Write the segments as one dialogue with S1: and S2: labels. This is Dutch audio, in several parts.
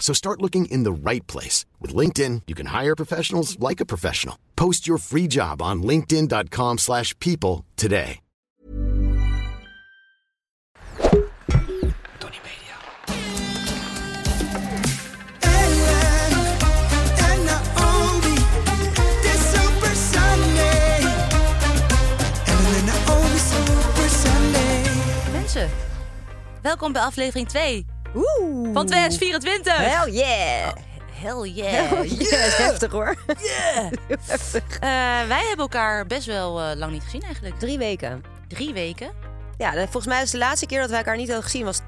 S1: So start looking in the right place. With LinkedIn, you can hire professionals like a professional. Post your free job on linkedin.com/people slash people today.
S2: Tony Media.
S3: Mensen, welkom bij aflevering 2 van 2024.
S4: Hell yeah!
S3: Oh. Hell yeah.
S4: Yes, heftig hoor.
S3: Eh, wij hebben elkaar best wel eh, lang niet gezien eigenlijk.
S4: Drie weken.
S3: Drie weken.
S4: Ja, dat- volgens mij is de laatste keer dat wij elkaar niet hadden gezien was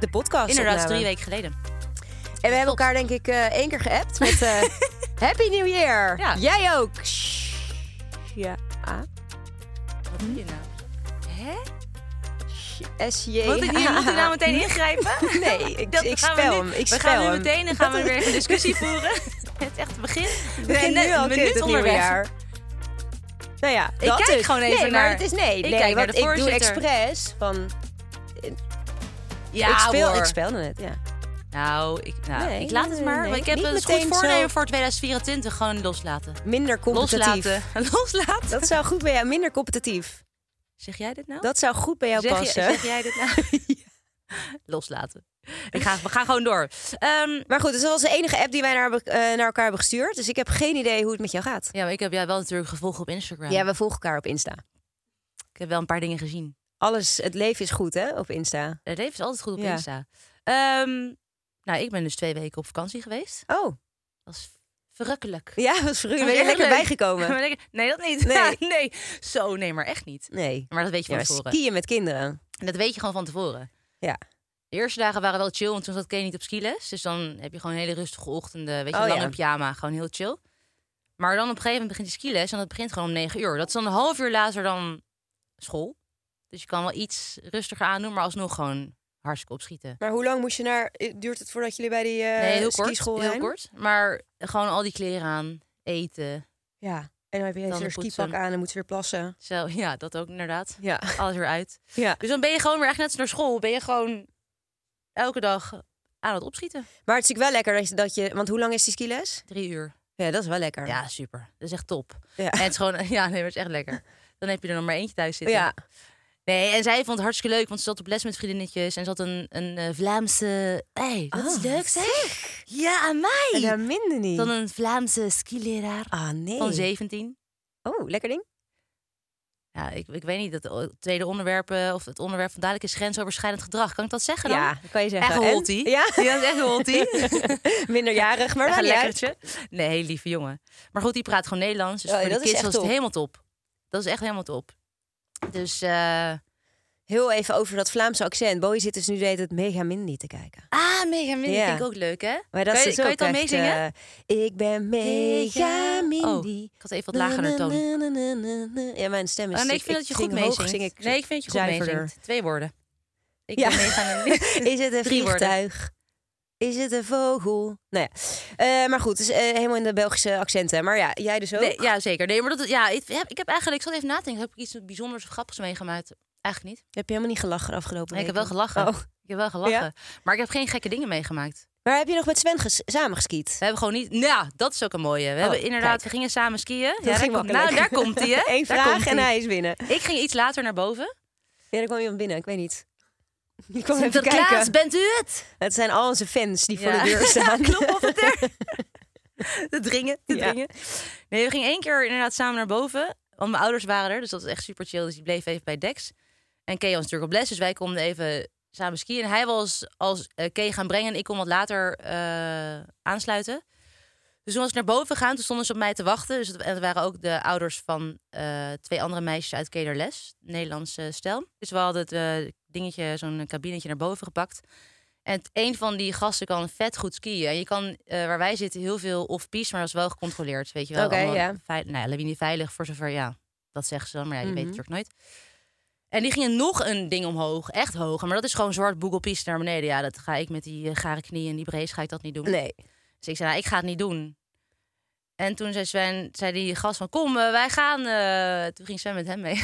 S4: de podcast.
S3: Inderdaad, drie weken geleden.
S4: En we hebben elkaar denk ik eh, één keer geappt met eh, Happy New Year.
S3: Ja.
S4: Jij ook. Shh. Ja. A.
S3: Wat doe je nou? Hè?
S4: S-J.
S3: Moet ik nu, moet ik nou meteen ingrijpen?
S4: Nee, ik- ik
S3: gaan
S4: spel
S3: we
S4: hem,
S3: nu-
S4: ik
S3: we
S4: spel
S3: gaan nu
S4: hem.
S3: meteen en gaan we weer een discussie voeren. Het is echt het begin. We
S4: Nee,
S3: beginnen
S4: nu al
S3: een
S4: kut
S3: minuut
S4: het
S3: onderweg.
S4: nieuwjaar. Nou ja,
S3: Ik
S4: dat
S3: kijk
S4: dus.
S3: gewoon even
S4: nee,
S3: naar-
S4: Maar het is nee,
S3: Ik
S4: nee
S3: kijk naar
S4: want
S3: de
S4: ik doe
S3: voorzitter.
S4: expres van...
S3: Ja,
S4: ik, speel,
S3: hoor.
S4: ik speel net, ja.
S3: Nou, ik, nou,
S4: Nee,
S3: ik laat het
S4: nee,
S3: maar.
S4: nee.
S3: want Ik heb
S4: Niet
S3: een goed
S4: meteen zo-
S3: voornemen voor 2024. Gewoon loslaten.
S4: Minder competitief.
S3: Loslaten. Loslaten.
S4: Dat zou goed bij jou, minder competitief.
S3: Zeg jij dit nou?
S4: Dat zou goed bij jou
S3: zeg, je-
S4: passen.
S3: zeg jij dit nou? Loslaten. Ik ga, we gaan gewoon door. Ehm,
S4: Maar goed, dus dat was de enige app die wij naar, eh, naar elkaar hebben gestuurd. Dus ik heb geen idee hoe het met jou gaat.
S3: ja, maar ik heb jou wel natuurlijk gevolgd op Instagram.
S4: Ja, we volgen elkaar op Insta.
S3: Ik heb wel een paar dingen gezien.
S4: Alles, het leven is goed, hè, op Insta.
S3: Het leven is altijd goed op
S4: Ja.
S3: Insta. Ehm, nou, ik ben dus twee weken op vakantie geweest.
S4: Oh,
S3: Dat was verrukkelijk.
S4: ja, wat vroeg. Ben
S3: Dat was
S4: je
S3: echt
S4: lekker
S3: leuk. Ik ben
S4: bijgekomen?
S3: lekker- Nee, dat niet.
S4: Nee.
S3: Ja, nee. Zo, nee, maar echt niet.
S4: Nee.
S3: Maar dat weet je
S4: Ja,
S3: van
S4: maar
S3: tevoren.
S4: skiën met kinderen.
S3: En dat weet je gewoon van tevoren.
S4: Ja.
S3: De eerste dagen waren wel chill, want toen zat Kenny niet op skiles. Dus dan heb je gewoon hele rustige ochtenden. Weet je,
S4: Oh,
S3: lang
S4: ja.
S3: in pyjama, gewoon heel chill. Maar dan op een gegeven moment begint die skiles en dat begint gewoon om negen uur. Dat is dan een half uur later dan school. Dus je kan wel iets rustiger aandoen, maar alsnog gewoon hartstikke opschieten.
S4: Maar hoe lang moest je naar... eh, Duurt het voordat jullie bij die eh
S3: nee, heel kort,
S4: skischool
S3: heel
S4: zijn?
S3: kort. Maar gewoon al die kleren aan, eten,
S4: Ja. En dan heb je
S3: Dan
S4: een
S3: de
S4: een
S3: poetsen.
S4: skipak aan en moet je weer plassen. Oh.
S3: zo. Ja, dat ook inderdaad.
S4: Ja.
S3: Alles weer uit.
S4: ja.
S3: Dus dan ben je gewoon weer echt net als naar school. Ben je gewoon elke dag aan het opschieten.
S4: Maar het is natuurlijk wel lekker dat je... Dat je want hoe lang is die skiles?
S3: Drie uur.
S4: Ja, dat is wel lekker.
S3: Ja, super. Dat is echt top.
S4: Ja.
S3: En het is gewoon, ja, nee, maar het is echt lekker. Dan heb je er nog maar eentje thuis zitten.
S4: Ja.
S3: Nee, en zij vond het hartstikke leuk, want ze zat op les met vriendinnetjes en ze had een, een eh, Vlaamse. hey, dat is
S4: Oh,
S3: leuk zeg. Ja, aan mij.
S4: En daar minder niet.
S3: Dan een Vlaamse skileraar
S4: Ah, nee.
S3: van 17.
S4: Oh, lekker ding.
S3: Ja, ik, ik weet niet, dat o- het tweede onderwerp eh, of het onderwerp van dadelijk is grensoverschrijdend gedrag. Kan ik dat zeggen dan?
S4: Ja, dat kan je zeggen.
S3: Echt een
S4: En?
S3: holtie.
S4: Ja.
S3: Ja, dat is echt een holtie.
S4: Minderjarig, maar
S3: Echt
S4: wel
S3: een
S4: lekker.
S3: lekkertje. Nee, heel lieve jongen. Maar goed, die praat gewoon Nederlands. Dus
S4: Oh,
S3: voor de
S4: dat is
S3: kids
S4: echt
S3: was het
S4: top.
S3: helemaal top. Dat is echt helemaal top. Dus, eh,
S4: Heel even over dat Vlaamse accent. Boy zit dus nu deed het mega mindy te kijken.
S3: Ah, mega mini
S4: Ja.
S3: vind ik ook leuk, hè?
S4: Maar dat
S3: kan je,
S4: is dus
S3: kan je
S4: ook
S3: het al
S4: echt,
S3: meezingen?
S4: eh, ik ben mega mindy.
S3: Oh, ik had even wat lagere toon.
S4: Na, na, na, na, na. Ja, mijn stem is...
S3: Ah, nee, ik vind dat je goed
S4: zing hoog,
S3: meezingt.
S4: zing ik
S3: nee, ik vind dat je goed
S4: zuiverder.
S3: meezingt. Twee woorden. Ik
S4: Ja.
S3: ben mega
S4: Is het een
S3: Drie woorden.
S4: vliegtuig? Is het een vogel? Nou ja. Eh, maar goed, het is eh, helemaal in de Belgische accenten. Maar ja, jij dus ook?
S3: Nee, ja, zeker. Nee, maar dat, ja, ik, heb, ik heb eigenlijk... Ik zat even na te denken. Heb ik iets bijzonders of grappigs meegemaakt? Eigenlijk niet.
S4: Heb je helemaal niet gelachen de afgelopen
S3: Nee, ik heb wel
S4: weken?
S3: gelachen.
S4: Oh.
S3: Ik heb wel gelachen. Maar ik heb geen gekke dingen meegemaakt.
S4: Maar heb je nog met Sven ges- samen geskiet?
S3: We hebben gewoon niet... Nou, ja, dat is ook een mooie. We hebben inderdaad...
S4: Oh, kijk.
S3: We gingen samen skiën. Ja,
S4: Dat
S3: daar
S4: ging
S3: komt-
S4: makkelijk.
S3: nou, daar komt hij, hè?
S4: Eén
S3: Daar
S4: vraag
S3: komt
S4: en
S3: hij.
S4: hij is binnen.
S3: Ik ging iets later naar boven.
S4: Ja, er kwam iemand binnen, ik weet niet. Die kwam even
S3: Sinterklaas,
S4: kijken.
S3: bent u het?
S4: Het zijn al onze fans die voor
S3: Ja.
S4: de deur staan.
S3: Klop op de deur. Te dringen, te
S4: Ja.
S3: dringen. Nee, we gingen één keer inderdaad samen naar boven. Want mijn ouders waren er, dus dat is echt super chill. Dus die bleef even bij Dex. En Kay was natuurlijk op les, dus wij konden even samen skiën. En hij was als eh Kay gaan brengen en ik kon wat later eh, aansluiten. Dus toen was ik naar boven gegaan, toen stonden ze op mij te wachten. Dus het, en het waren ook de ouders van eh, twee andere meisjes uit Kederles, Nederlandse stel. Dus we hadden het eh, dingetje, zo'n kabinetje naar boven gepakt. En het- een van die gasten kan vet goed skiën. En je kan, eh, waar wij zitten, heel veel off-piste, maar dat is wel gecontroleerd. Weet je wel,
S4: Oké,
S3: Allemaal
S4: ja.
S3: veil- nou ja, lawine veilig, voor zover, ja, dat zeggen ze dan. Maar ja, je
S4: Mhm.
S3: weet het natuurlijk nooit. En die gingen nog een ding omhoog, echt hoog. Maar dat is gewoon zwart boegelpiste naar beneden. Ja, dat ga ik met die eh, gare knieën en die brees ga ik dat niet doen.
S4: Nee.
S3: Dus ik zei, nou, ik ga het niet doen. En toen zei Sven, zei die gast van, kom, eh, wij gaan. eh, Toen ging Sven met hem mee.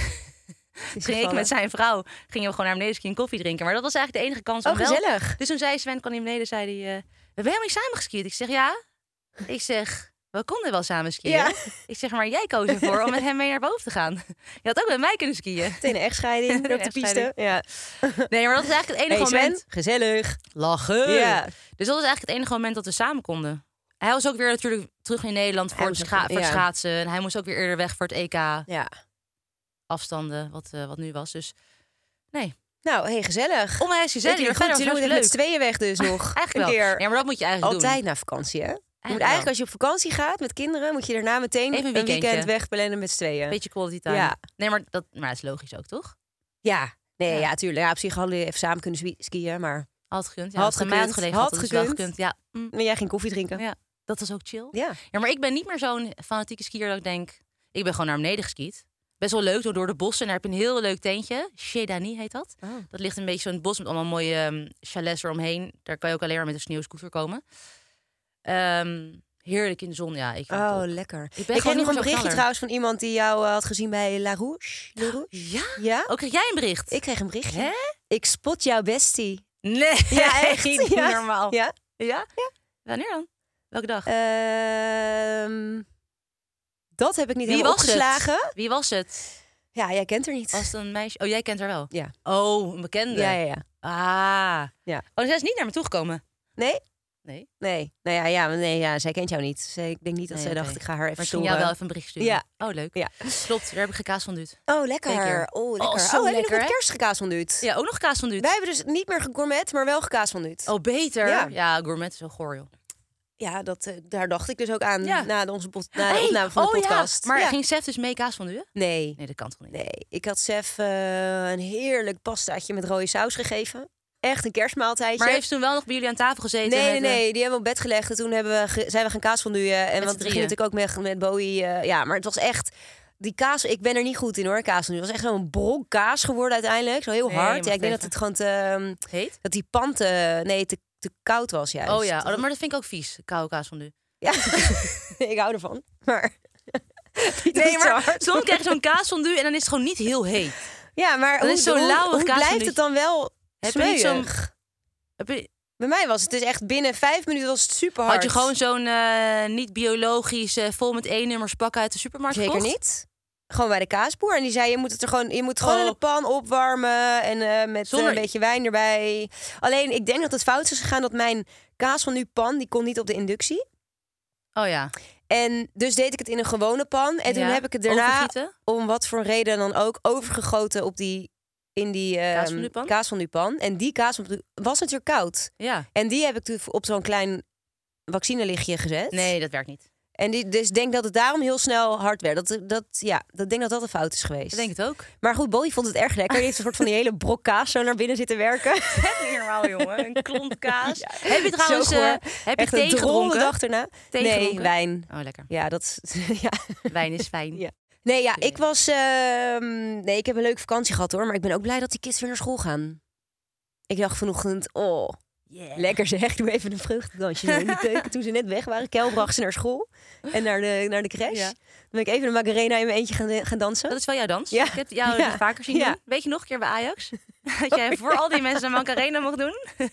S3: ging ik met zijn vrouw, gingen we gewoon naar beneden skiën koffie drinken. Maar dat was eigenlijk de enige kans
S4: Oh,
S3: om wel.
S4: gezellig.
S3: Dus toen zei Sven, kan hij beneden, zei hij, eh, we hebben helemaal niet samen geskiet. Ik zeg, ja. Ik zeg, we konden wel samen skiën.
S4: Ja.
S3: Ik zeg, maar jij koos ervoor om met hem mee naar boven te gaan. Je had ook met mij kunnen skiën.
S4: Meteen een echtscheiding op de piste.
S3: Echtscheiding.
S4: Ja.
S3: Nee, maar dat is eigenlijk het
S4: Hey
S3: enige
S4: Sven,
S3: moment.
S4: gezellig.
S3: Lachen.
S4: Ja.
S3: Dus dat was eigenlijk het enige moment dat we samen konden. Hij was ook weer natuurlijk terug in Nederland voor,
S4: Hij
S3: het,
S4: moest
S3: scha-
S4: ook-
S3: voor het
S4: ja.
S3: schaatsen. En hij moest ook weer eerder weg voor het EK.
S4: ja.
S3: Afstanden, wat, eh, wat nu was. Dus
S4: Nou, hey, gezellig.
S3: onwijs gezellig.
S4: Weet je,
S3: maar
S4: goed,
S3: Verder
S4: jullie
S3: was
S4: moeten
S3: het
S4: echt met
S3: leuk.
S4: z'n tweeën weg dus nog.
S3: Eigenlijk
S4: een
S3: wel.
S4: keer.
S3: Ja, maar dat moet je eigenlijk
S4: Altijd
S3: doen.
S4: na vakantie, hè? Je moet
S3: Eigenlijk
S4: eigenlijk
S3: wel.
S4: als je op vakantie gaat met kinderen, moet je daarna meteen
S3: Even een
S4: een weekend
S3: weekendje.
S4: weg plannen met z'n tweeën.
S3: Beetje quality time.
S4: Ja.
S3: Nee, maar dat, maar dat is logisch ook, toch?
S4: Ja, nee,
S3: Ja.
S4: ja. tuurlijk. Ja, op zich hadden we even samen kunnen swi- skiën, maar
S3: Had gekund. Ja,
S4: Had
S3: als het aan mij
S4: gekund,
S3: gelegen,
S4: had
S3: het wel
S4: gekund.
S3: gekund. Ja. Mm.
S4: maar jij ging koffie drinken.
S3: ja, dat was ook chill.
S4: Ja,
S3: Ja, maar ik ben niet meer zo'n fanatieke skier dat ik denk... Ik ben gewoon naar beneden geskiet. Best wel leuk, door, door de bossen. En daar heb je een heel leuk teentje. Chedani heet dat.
S4: Oh.
S3: Dat ligt een beetje zo'n bos met allemaal mooie ehm, chalets eromheen. Daar kan je ook alleen maar met een sneeuwscooter komen. Ehm, heerlijk in de zon, ja. Ik vind het
S4: oh,
S3: top.
S4: lekker.
S3: ben
S4: Ik, kreeg nog
S3: gewoon niet
S4: een
S3: meer zo'n
S4: berichtje
S3: knaller.
S4: trouwens van iemand die jou eh, had gezien bij La Rouge. La Rouge?
S3: Ja?
S4: Ja,
S3: Ook kreeg jij een bericht?
S4: ik kreeg een berichtje.
S3: Hè?
S4: Ik spot jouw bestie.
S3: Nee,
S4: Ja, echt.
S3: niet
S4: ja.
S3: normaal.
S4: Ja. Eh,
S3: Ja? Wanneer dan? Welke dag?
S4: Ehm, dat heb ik niet
S3: Wie
S4: helemaal
S3: was het?
S4: opgeslagen.
S3: Wie was het?
S4: Ja, jij kent haar niet.
S3: Was het een meisje? Oh, jij kent haar wel?
S4: Ja.
S3: Oh, een bekende.
S4: Ja, ja, ja.
S3: Ah.
S4: Ja.
S3: Oh, zij is niet naar me toegekomen.
S4: Nee?
S3: Nee.
S4: Nee. Nou ja, ja, maar nee, ja zij kent jou niet. Zij, ik denk niet dat
S3: Nee,
S4: zij
S3: oké.
S4: dacht, ik ga haar even
S3: Maar ik ging
S4: storen.
S3: jou wel even een bericht sturen.
S4: Ja.
S3: Oh, leuk.
S4: Ja.
S3: Klopt, daar heb ik gekaas van duwt.
S4: Oh,
S3: Twee keer.
S4: lekker. Oh, lekker.
S3: Oh,
S4: Oh,
S3: zo
S4: heb je nog
S3: lekker,
S4: wat
S3: hè?
S4: kerstgekaas van Duut?
S3: Ja, ook nog kaas van duwt.
S4: Wij hebben dus niet meer gegourmet, maar wel gekaas van Duut.
S3: Oh, beter. Ja,
S4: Ja.
S3: gourmet is wel goor, joh.
S4: Ja, dat, eh, daar dacht ik dus ook aan
S3: Ja.
S4: na de, onze pod- na de
S3: Hey,
S4: opname van de
S3: oh ja,
S4: podcast.
S3: Maar
S4: Ja.
S3: ging Sef dus mee kaas van duwen?
S4: Nee,
S3: Nee, dat kan toch niet?
S4: nee. Ik had Sef eh, een heerlijk pastaatje met rode saus gegeven. Echt een kerstmaaltijdje.
S3: Maar heeft ze toen wel nog bij jullie aan tafel gezeten?
S4: Nee, nee,
S3: met, eh,
S4: nee. Die hebben we op bed gelegd. En toen hebben we ge- zijn we gaan kaas fonduien. En
S3: z'n
S4: want we
S3: drieën.
S4: gingen natuurlijk ook met, met Bowie. eh, ja, maar het was echt... Die kaas, ik ben er niet goed in hoor, kaas fondue. Het was echt zo'n bron kaas geworden uiteindelijk. Zo heel
S3: Nee, maar
S4: hard. Ja, ik
S3: even.
S4: denk dat het gewoon te... ehm,
S3: Heet?
S4: dat die pand te, nee, te, te koud was juist.
S3: Oh ja, oh,
S4: Dat-
S3: maar dat vind ik ook vies, koude kaas van duwen.
S4: ja. ik hou ervan. Maar... Niet
S3: Nee,
S4: als te
S3: maar
S4: hard.
S3: soms krijg je zo'n kaas van en dan is het gewoon niet heel heet.
S4: Ja, maar
S3: Dat
S4: hoe,
S3: is zo'n
S4: hoe-
S3: lauwe
S4: hoe
S3: kaas
S4: blijft
S3: fondue.
S4: het dan wel
S3: Heb je niet
S4: smeuig?
S3: zo'n- Heb je-
S4: Bij mij was het dus echt binnen vijf minuten was het super hard.
S3: Had je gewoon zo'n eh, niet biologisch, eh, vol met E-nummers pak uit de supermarkt
S4: Zeker
S3: gekocht?
S4: niet. Gewoon bij de kaasboer. En die zei, je moet het er gewoon, je moet het gewoon in
S3: Oh.
S4: de pan opwarmen. En eh, met eh,
S3: Zonder-
S4: een beetje wijn erbij. Alleen, ik denk dat het fout is gegaan dat mijn kaas van nu pan, die kon niet op de inductie.
S3: Oh ja.
S4: En dus deed ik het in een gewone pan. En toen
S3: Ja.
S4: heb ik het daarna,
S3: Overgieten?
S4: om wat voor reden dan ook, overgegoten op die, in die eh,
S3: Kaas van nu pan?
S4: kaas van nu pan. En die kaas van nu- was natuurlijk koud.
S3: Ja.
S4: En die heb ik toen op zo'n klein vaccinelichtje gezet.
S3: Nee, dat werkt niet.
S4: En die, dus ik denk dat het daarom heel snel hard werd. Dat, dat, ja, dat denk dat dat een fout is geweest.
S3: Ik denk het ook.
S4: Maar goed, Bowie vond het erg lekker. Die heeft een soort van die hele brok kaas zo naar binnen zitten werken.
S3: normaal, jongen. Een klomp kaas.
S4: Ja.
S3: Heb je trouwens
S4: Zo goor.
S3: eh, heb je
S4: Echt
S3: thee
S4: een drolle
S3: gedronken?
S4: dag daarna.
S3: Thee
S4: nee,
S3: gedronken?
S4: wijn.
S3: Oh, lekker.
S4: Ja, dat is... Ja.
S3: Wijn is fijn.
S4: Ja. Nee, ja, ik was... ehm, nee, ik heb een leuke vakantie gehad hoor. Maar ik ben ook blij dat die kids weer naar school gaan. Ik dacht vanochtend, oh,
S3: Yeah.
S4: lekker zeg. Doe even een vreugdedansje zo in de keuken. Toen ze net weg waren, Kel bracht ze naar school. En naar de, naar de crash.
S3: Ja.
S4: Toen ben ik even de Macarena in mijn eentje gaan, gaan dansen.
S3: Dat is wel jouw dans.
S4: Ja.
S3: Ik heb jou
S4: Ja.
S3: die vaker zien
S4: Ja. Oh,
S3: doen. Weet je nog een keer bij Ajax? Dat jij voor al die mensen een Macarena mocht doen? Toen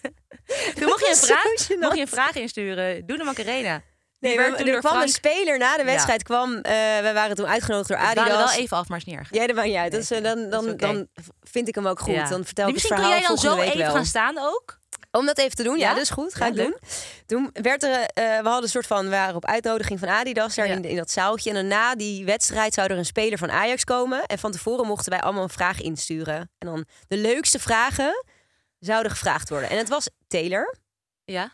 S3: mocht je, een
S4: is
S3: vraag,
S4: zo gênant.
S3: mocht je een vraag insturen. Doe de Macarena. Die
S4: Nee,
S3: werd
S4: maar
S3: toen
S4: er
S3: door
S4: kwam
S3: Frank-
S4: een speler na de
S3: Ja.
S4: wedstrijd. Kwam, eh, wij waren toen uitgenodigd door
S3: We dwalen
S4: Adidas.
S3: wel even af, maar is niet erg.
S4: Ja, dat maakt niet uit. Dat is, eh, dan,
S3: dat
S4: dan,
S3: is oké.
S4: dan vind ik hem ook goed.
S3: Ja.
S4: Dan vertel ik het
S3: Misschien
S4: verhaal
S3: kun jij dan
S4: volgende
S3: zo
S4: week
S3: even
S4: wel.
S3: gaan staan ook.
S4: Om dat even te doen, ja,
S3: Ja?
S4: dus goed, ga
S3: Ja,
S4: ik doen. Toen werd er, eh, we hadden een soort van, we waren op uitnodiging van Adidas daar
S3: Ja.
S4: in, in dat zaaltje. En daarna die wedstrijd zou er een speler van Ajax komen. En van tevoren mochten wij allemaal een vraag insturen. En dan de leukste vragen zouden gevraagd worden. En het was Taylor.
S3: Ja.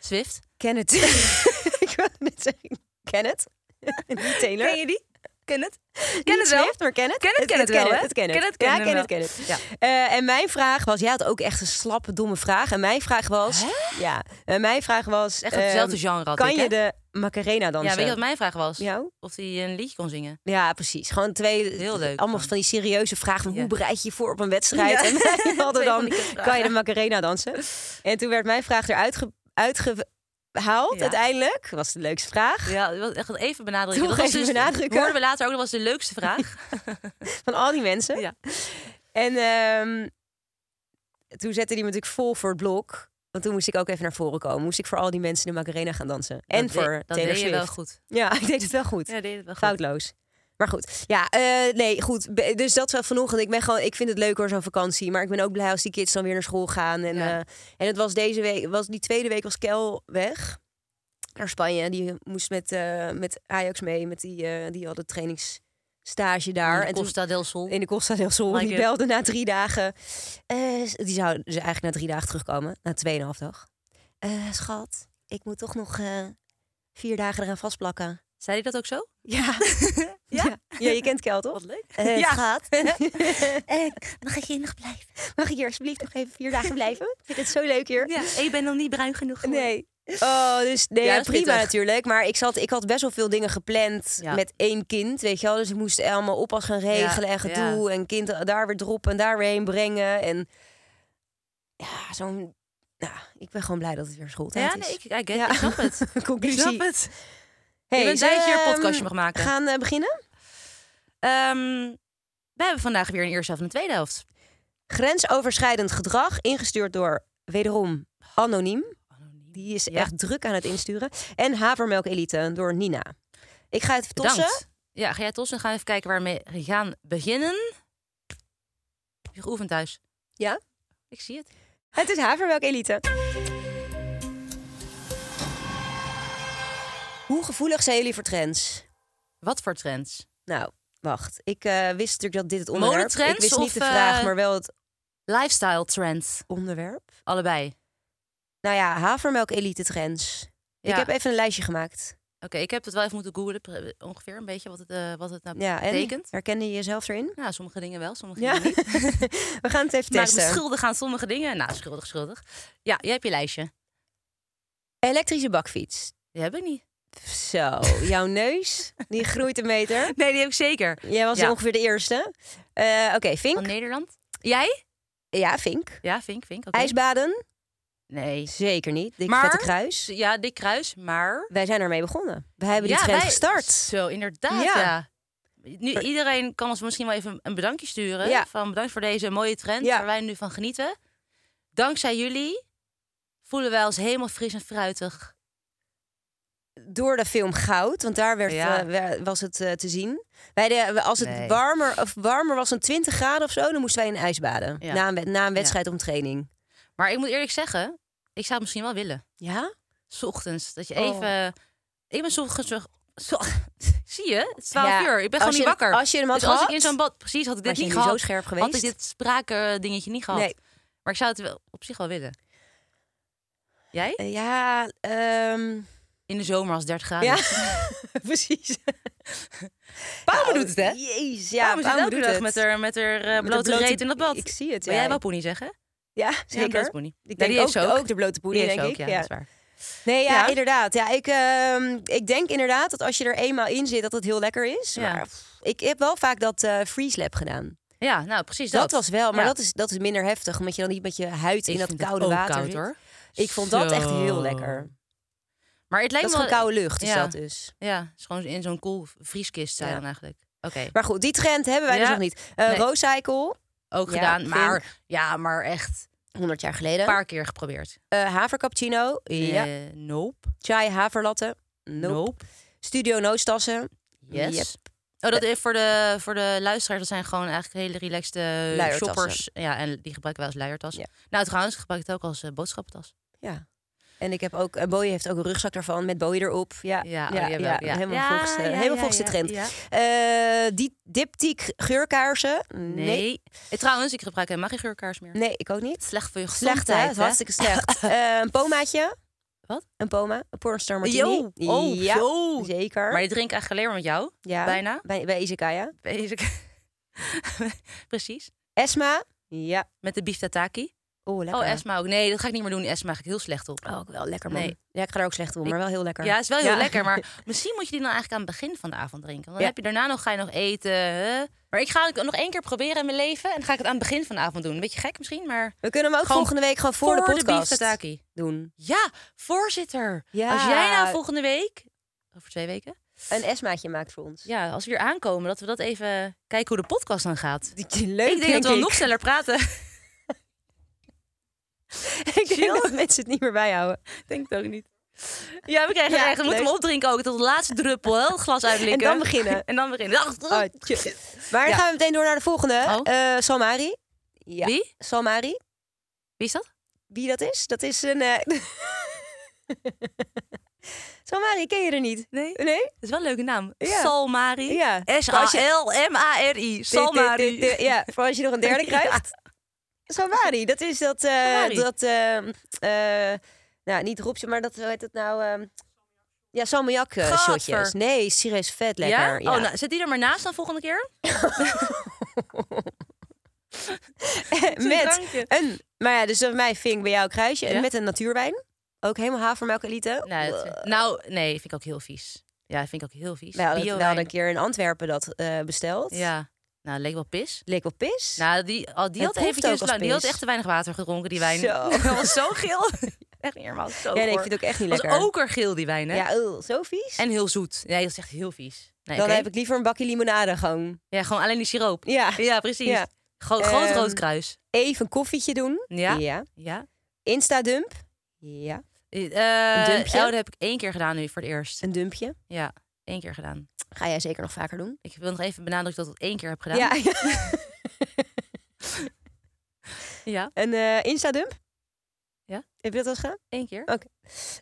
S3: Swift.
S4: Ken het. ik wilde net zeggen, ken het. Niet Taylor.
S3: Ken je die? Ken het?
S4: Ken
S3: het wel?
S4: maar ken het.
S3: Ken het, ken het wel, hè?
S4: Het ken het.
S3: Ken het, ken
S4: ja,
S3: hem
S4: ken
S3: wel.
S4: het, ken het.
S3: Ja.
S4: Eh, en mijn vraag was, jij had ook echt een slappe, domme vraag. En mijn vraag was, ja, en mijn vraag was,
S3: Echt op hetzelfde
S4: ehm,
S3: genre had
S4: kan
S3: ik,
S4: je
S3: hè?
S4: de Macarena dansen?
S3: Ja, weet je wat mijn vraag was?
S4: Nou?
S3: Of hij een liedje kon zingen.
S4: Ja, precies. Gewoon twee,
S3: Heel leuk.
S4: allemaal van die serieuze vragen. van Hoe
S3: Ja.
S4: bereid je je voor op een wedstrijd?
S3: Ja.
S4: En wij hadden
S3: Twee van
S4: dan,
S3: die kutvragen.
S4: kan je de Macarena dansen? En toen werd mijn vraag eruit ge- uitgehaald
S3: Ja.
S4: uiteindelijk. Dat was de leukste vraag.
S3: Ja, dat was echt even benadrukken.
S4: Toch
S3: Dat was
S4: even
S3: dus-
S4: benadrukken.
S3: Hoorden we later ook, dat was de leukste vraag.
S4: Van al die mensen.
S3: Ja.
S4: En ehm, toen zette die me natuurlijk vol voor het blok. Want toen moest ik ook even naar voren komen. Moest ik voor al die mensen de Macarena gaan dansen. En
S3: Dat
S4: voor
S3: deed- dat
S4: Taylor
S3: deed je
S4: Swift.
S3: wel goed.
S4: Ja, ik deed het wel goed.
S3: Ja, deed het wel goed.
S4: Foutloos. Maar goed, ja, eh, nee, goed. Be- Dus dat wel vanochtend. Ik, ben gewoon, ik vind het leuk hoor, zo'n vakantie. Maar ik ben ook blij als die kids dan weer naar school gaan. En,
S3: Ja.
S4: eh, en het was deze week, was die tweede week was Kel weg naar Spanje. Die moest met, eh, met Ajax mee, met die, eh, die hadden trainingsstage daar.
S3: En
S4: toen-
S3: Costa del Sol.
S4: in de Costa del Sol.
S3: Like
S4: die
S3: it.
S4: belde na drie dagen. Eh, die zou dus eigenlijk na drie dagen terugkomen. Na tweeënhalf dag. Eh, schat, ik moet toch nog eh, vier dagen eraan vastplakken.
S3: Zei hij dat ook zo?
S4: Ja. ja? Ja, je kent Kel, toch? Wat leuk. ja. Schat. Eh,
S3: Mag ik hier nog blijven?
S4: Mag ik hier alsjeblieft nog even vier dagen blijven? Ik vind het zo leuk hier.
S3: Ja, ik ben nog niet bruin genoeg
S4: Nee. Oh, dus nee,
S3: Ja,
S4: ja,
S3: dat is
S4: prima
S3: pittig.
S4: natuurlijk. Maar ik, zat, ik had best wel veel dingen gepland
S3: Ja.
S4: met één kind, weet je wel. Dus ik moest allemaal oppas gaan regelen en gedoe. En kind daar weer droppen en daar weer heen brengen. En ja, zo'n... Ja, ik ben gewoon blij dat het weer schooltijd
S3: Ja,
S4: is.
S3: nee, ik, I get-
S4: Ja.
S3: ik snap het. Ik
S4: Conclusie.
S3: snap het.
S4: Hey,
S3: Je bent
S4: zullen
S3: blij dat je
S4: we,
S3: er een podcastje
S4: ehm,
S3: mag maken.
S4: gaan eh, beginnen?
S3: Ehm, we hebben vandaag weer een eerste helft en een tweede helft.
S4: Grensoverschrijdend gedrag, ingestuurd door wederom Anoniem. Die is
S3: Ja.
S4: echt druk aan het insturen. En Havermelk Elite door Nina. Ik ga het tossen.
S3: Bedankt. Ja, ga jij tossen en gaan we even kijken waarmee we gaan beginnen. Heb je geoefend thuis?
S4: Ja?
S3: Ik zie het.
S4: Het is havermelk elite. Hoe gevoelig zijn jullie voor trends?
S3: Wat voor trends?
S4: Nou, wacht. Ik eh, wist natuurlijk dat dit het onderwerp...
S3: Modetrends
S4: Ik wist
S3: of,
S4: niet de vraag,
S3: eh,
S4: maar wel het
S3: Lifestyle trends.
S4: onderwerp.
S3: Allebei. Oké,
S4: Nou ja, havermelk elite trends. Ik
S3: Ja.
S4: heb even een lijstje gemaakt.
S3: ik heb het wel even moeten googlen, pre- ongeveer een beetje wat het, eh, wat het nou
S4: Ja, en
S3: betekent.
S4: herkende je jezelf erin?
S3: Nou, sommige dingen wel, sommige
S4: Ja.
S3: dingen niet.
S4: We gaan het even
S3: Maar
S4: testen.
S3: schuldig aan sommige dingen. Nou, schuldig, schuldig. Ja, jij hebt je lijstje.
S4: Elektrische bakfiets.
S3: Die heb ik niet.
S4: Zo, jouw neus, die groeit een meter.
S3: Nee, die heb ik zeker.
S4: Jij was
S3: Ja.
S4: ongeveer de eerste. Eh, Oké, Vink.
S3: Van Nederland. Jij?
S4: Ja, Vink.
S3: Ja, Vink, Vink. oké.
S4: IJsbaden?
S3: Nee.
S4: Zeker niet. Dik
S3: Maar-
S4: vette kruis.
S3: Ja, Dick Kruis, maar...
S4: Wij zijn ermee begonnen. We hebben die
S3: ja,
S4: trend
S3: wij-
S4: gestart.
S3: Zo, inderdaad,
S4: Ja.
S3: ja. Nu, iedereen kan ons misschien wel even een bedankje sturen.
S4: Ja.
S3: Van bedankt voor deze mooie trend
S4: Ja.
S3: waar wij nu van genieten. Dankzij jullie voelen wij ons helemaal fris en fruitig.
S4: Door de film Goud, want daar werd,
S3: Ja.
S4: eh, wer- was het eh, te zien. Wij de, als het
S3: Nee.
S4: warmer, of warmer was dan 20 graden of zo, dan moesten wij in ijsbaden.
S3: Ja.
S4: Na, een, wed- na een wedstrijd om training.
S3: Maar ik moet eerlijk zeggen, ik zou het misschien wel willen.
S4: Ja?
S3: 's ochtends. Dat je
S4: Oh.
S3: even... Ik ben 's ochtends... terug- Zo, zie je? Het is 12
S4: Ja,
S3: uur. Ik ben
S4: als
S3: gewoon niet
S4: je-
S3: wakker.
S4: als je hem had
S3: dus als ik in
S4: gehad,
S3: zo'n bad... Precies, had ik dit
S4: was je
S3: niet
S4: niet zo
S3: gehad.
S4: scherp
S3: Had ik
S4: geweest.
S3: dit spraken dingetje niet gehad.
S4: Nee.
S3: Maar ik zou het wel op zich wel willen. Jij?
S4: Eh, ja, ehm,
S3: In de zomer als 30 graden.
S4: ja. precies.
S3: Pauwme
S4: Oh,
S3: doet het, hè?
S4: Jeez,
S3: Ja,
S4: ja,
S3: Pauwme zit
S4: Pauwme
S3: elke
S4: doet
S3: dag
S4: het.
S3: met haar, met haar eh,
S4: Met de
S3: blote,
S4: blote-
S3: reet in dat bad.
S4: Ik zie het,
S3: Wil
S4: ja.
S3: jij wel poenie zeggen?
S4: Ja,
S3: Ja,
S4: zeker.
S3: blote poenie.
S4: ik
S3: Ja,
S4: denk
S3: die
S4: ook,
S3: heeft ze ook.
S4: ook de blote poenie,
S3: Die heeft
S4: denk
S3: ze ook,
S4: ik.
S3: ja,
S4: ja.
S3: dat is waar.
S4: Nee, ja,
S3: Ja.
S4: inderdaad. Ja, ik, ehm, ik denk inderdaad dat als je er eenmaal in zit, dat het heel lekker is.
S3: Ja.
S4: Maar pff, ik heb wel vaak dat eh freeze lab gedaan.
S3: Ja, nou precies
S4: Dat,
S3: dat.
S4: was wel, maar
S3: Ja.
S4: dat, is, dat is minder heftig, omdat je dan niet met je huid in
S3: Ik
S4: dat
S3: vind het
S4: koude
S3: ook
S4: water
S3: koud,
S4: zit.
S3: hoor.
S4: Ik vond dat echt heel
S3: Zo.
S4: lekker.
S3: Maar het
S4: Dat
S3: lijkt
S4: is
S3: me
S4: gewoon
S3: wel...
S4: koude lucht, is
S3: ja.
S4: dat dus.
S3: Ja, het is gewoon in zo'n koel vrieskist zijn
S4: Ja.
S3: dan eigenlijk. Oké,
S4: Maar goed, die trend hebben wij dus
S3: Ja.
S4: nog niet. Eh
S3: Nee.
S4: Rocycle,
S3: ook
S4: Ja,
S3: gedaan.
S4: vind-
S3: Maar ja, maar echt
S4: 100 jaar geleden.
S3: een paar keer geprobeerd.
S4: Eh, havercappuccino. Ja.
S3: Eh, nope.
S4: Chai haverlatte. Nope.
S3: Nope.
S4: Studio noostassen.
S3: Yes.
S4: Yep.
S3: Oh, dat is voor de, voor de luisteraars. Dat zijn gewoon eigenlijk hele relaxte
S4: Luiertassen.
S3: shoppers. Ja, en die gebruiken wij als luiertas.
S4: Ja.
S3: Nou, trouwens, ik gebruik het ook als eh, boodschappentas.
S4: Ja. En ik heb ook, eh, Bowie heeft ook een rugzak daarvan met Bowie erop. Ja,
S3: Ja, oh, die hebben we ook, ja.
S4: helemaal
S3: Ja,
S4: volgens de,
S3: ja,
S4: helemaal
S3: ja,
S4: volgens de
S3: ja,
S4: trend.
S3: ja.
S4: Eh, die diptiek geurkaarsen?
S3: Nee. Eh, Trouwens, ik gebruik helemaal geen geurkaars meer.
S4: Nee, ik ook niet.
S3: Slecht voor je gezondheid.
S4: Slecht, hè? Het is hartstikke slecht. Eh, een pomaatje.
S3: Wat?
S4: Een poma. Een pornstar martini.
S3: Yo! Oh,
S4: ja,
S3: zo!
S4: zeker.
S3: Maar je drinkt eigenlijk alleen maar met jou.
S4: ja.
S3: bijna.
S4: Bij, bij Izakaya.
S3: Basic. Precies.
S4: Esma. Ja.
S3: Met de beef tataki.
S4: Oh, lekker. Oh,
S3: Oh, Esma ook. Nee, dat ga ik niet meer doen. Die Esma ga ik heel slecht op.
S4: Ook wel lekker, man.
S3: Nee.
S4: Ja, ik ga er ook slecht om, maar wel heel lekker.
S3: Ja, is wel heel lekker. Maar misschien moet je die dan eigenlijk aan het begin van de avond drinken. Want dan
S4: Ja.
S3: heb je daarna nog, ga je nog eten. hè? Maar ik ga het nog één keer proberen in mijn leven. En dan ga ik het aan het begin van de avond doen. Een beetje gek misschien, maar
S4: We kunnen hem ook
S3: Gewoon
S4: volgende week gewoon voor, de
S3: beef
S4: podcast
S3: tataki.
S4: doen.
S3: Ja, voorzitter.
S4: Ja.
S3: Als jij nou volgende week, over twee weken,
S4: Een Esmaatje maakt voor ons.
S3: ja, als we hier aankomen, dat we dat even kijken hoe de podcast dan gaat.
S4: Die- Leuk,
S3: ik denk, dat we
S4: ik.
S3: nog sneller praten.
S4: Ik denk dat mensen het niet meer bijhouden.
S3: denk het ook niet. Ja, we krijgen
S4: Ja,
S3: het echt. We moeten
S4: leuk.
S3: hem opdrinken ook. Tot de laatste druppel. Heel het glas uitlikken.
S4: En dan beginnen.
S3: En dan beginnen. Ach,
S4: Oh, tje. maar dan
S3: Ja.
S4: gaan we meteen door naar de volgende.
S3: Oh.
S4: Eh, Salmari. Ja.
S3: Wie?
S4: Salmari.
S3: Wie is dat?
S4: Wie dat is? Dat is een... eh, Salmari, ken je er niet?
S3: Nee.
S4: Nee?
S3: Dat is wel een leuke naam.
S4: Ja.
S3: Salmari.
S4: Ja.
S3: S-A-L-M-A-R-I.
S4: Dit, dit,
S3: Salmari.
S4: dit, Ja, voor als je nog een derde krijgt. Salmari, dat is dat... eh,
S3: Salmari.
S4: dat eh, eh, nou, niet roepje, maar dat, hoe heet het nou... ehm, ja, salmiak eh,
S3: Gadver.
S4: shotjes. Nee, serieus vet lekker.
S3: Ja? Oh, nou, zet die er maar naast dan volgende keer.
S4: met
S3: drankje.
S4: een, maar ja, dus bij mij ving bij jou een kruisje en
S3: Ja.
S4: met een natuurwijn. Ook helemaal havermelk elite.
S3: Nou, dat- nou, nee, vind ik ook heel vies. Ja, dat vind ik ook heel vies.
S4: we hadden, we
S3: Biowijn.
S4: hadden een keer in Antwerpen dat eh, besteld.
S3: Ja. Nou, leek wel pis.
S4: Leek wel pis.
S3: Nou, die, al die
S4: Het
S3: had
S4: proeft ook
S3: eventjes...
S4: als
S3: lang- Die
S4: pis.
S3: had echt te weinig water gedronken, die wijn.
S4: Zo.
S3: Dat was zo geel. Echt niet normaal. Zo
S4: ja, nee, ik
S3: goor.
S4: vind het ook echt niet
S3: was
S4: lekker.
S3: okergeel, die wijn, hè?
S4: ja, ugh, zo vies.
S3: En heel zoet. Nee, dat is echt heel vies. Nee,
S4: dan
S3: oké.
S4: heb ik liever een bakje limonade gewoon.
S3: Ja, gewoon alleen die siroop.
S4: Ja.
S3: Ja, precies.
S4: Ja.
S3: Gro-
S4: Ehm,
S3: groot rood kruis.
S4: Even een koffietje doen.
S3: Ja.
S4: ja.
S3: Ja.
S4: Insta-dump. Ja.
S3: Eh,
S4: een dumpje?
S3: oh, dat heb ik één keer gedaan nu voor het eerst.
S4: Een dumpje.
S3: Ja, één keer gedaan.
S4: Ga jij zeker nog vaker doen?
S3: Ik wil nog even benadrukken dat ik het één keer heb gedaan.
S4: Ja.
S3: ja
S4: een eh, Insta-dump.
S3: Ja.
S4: Heb je dat al eens gedaan?
S3: één keer.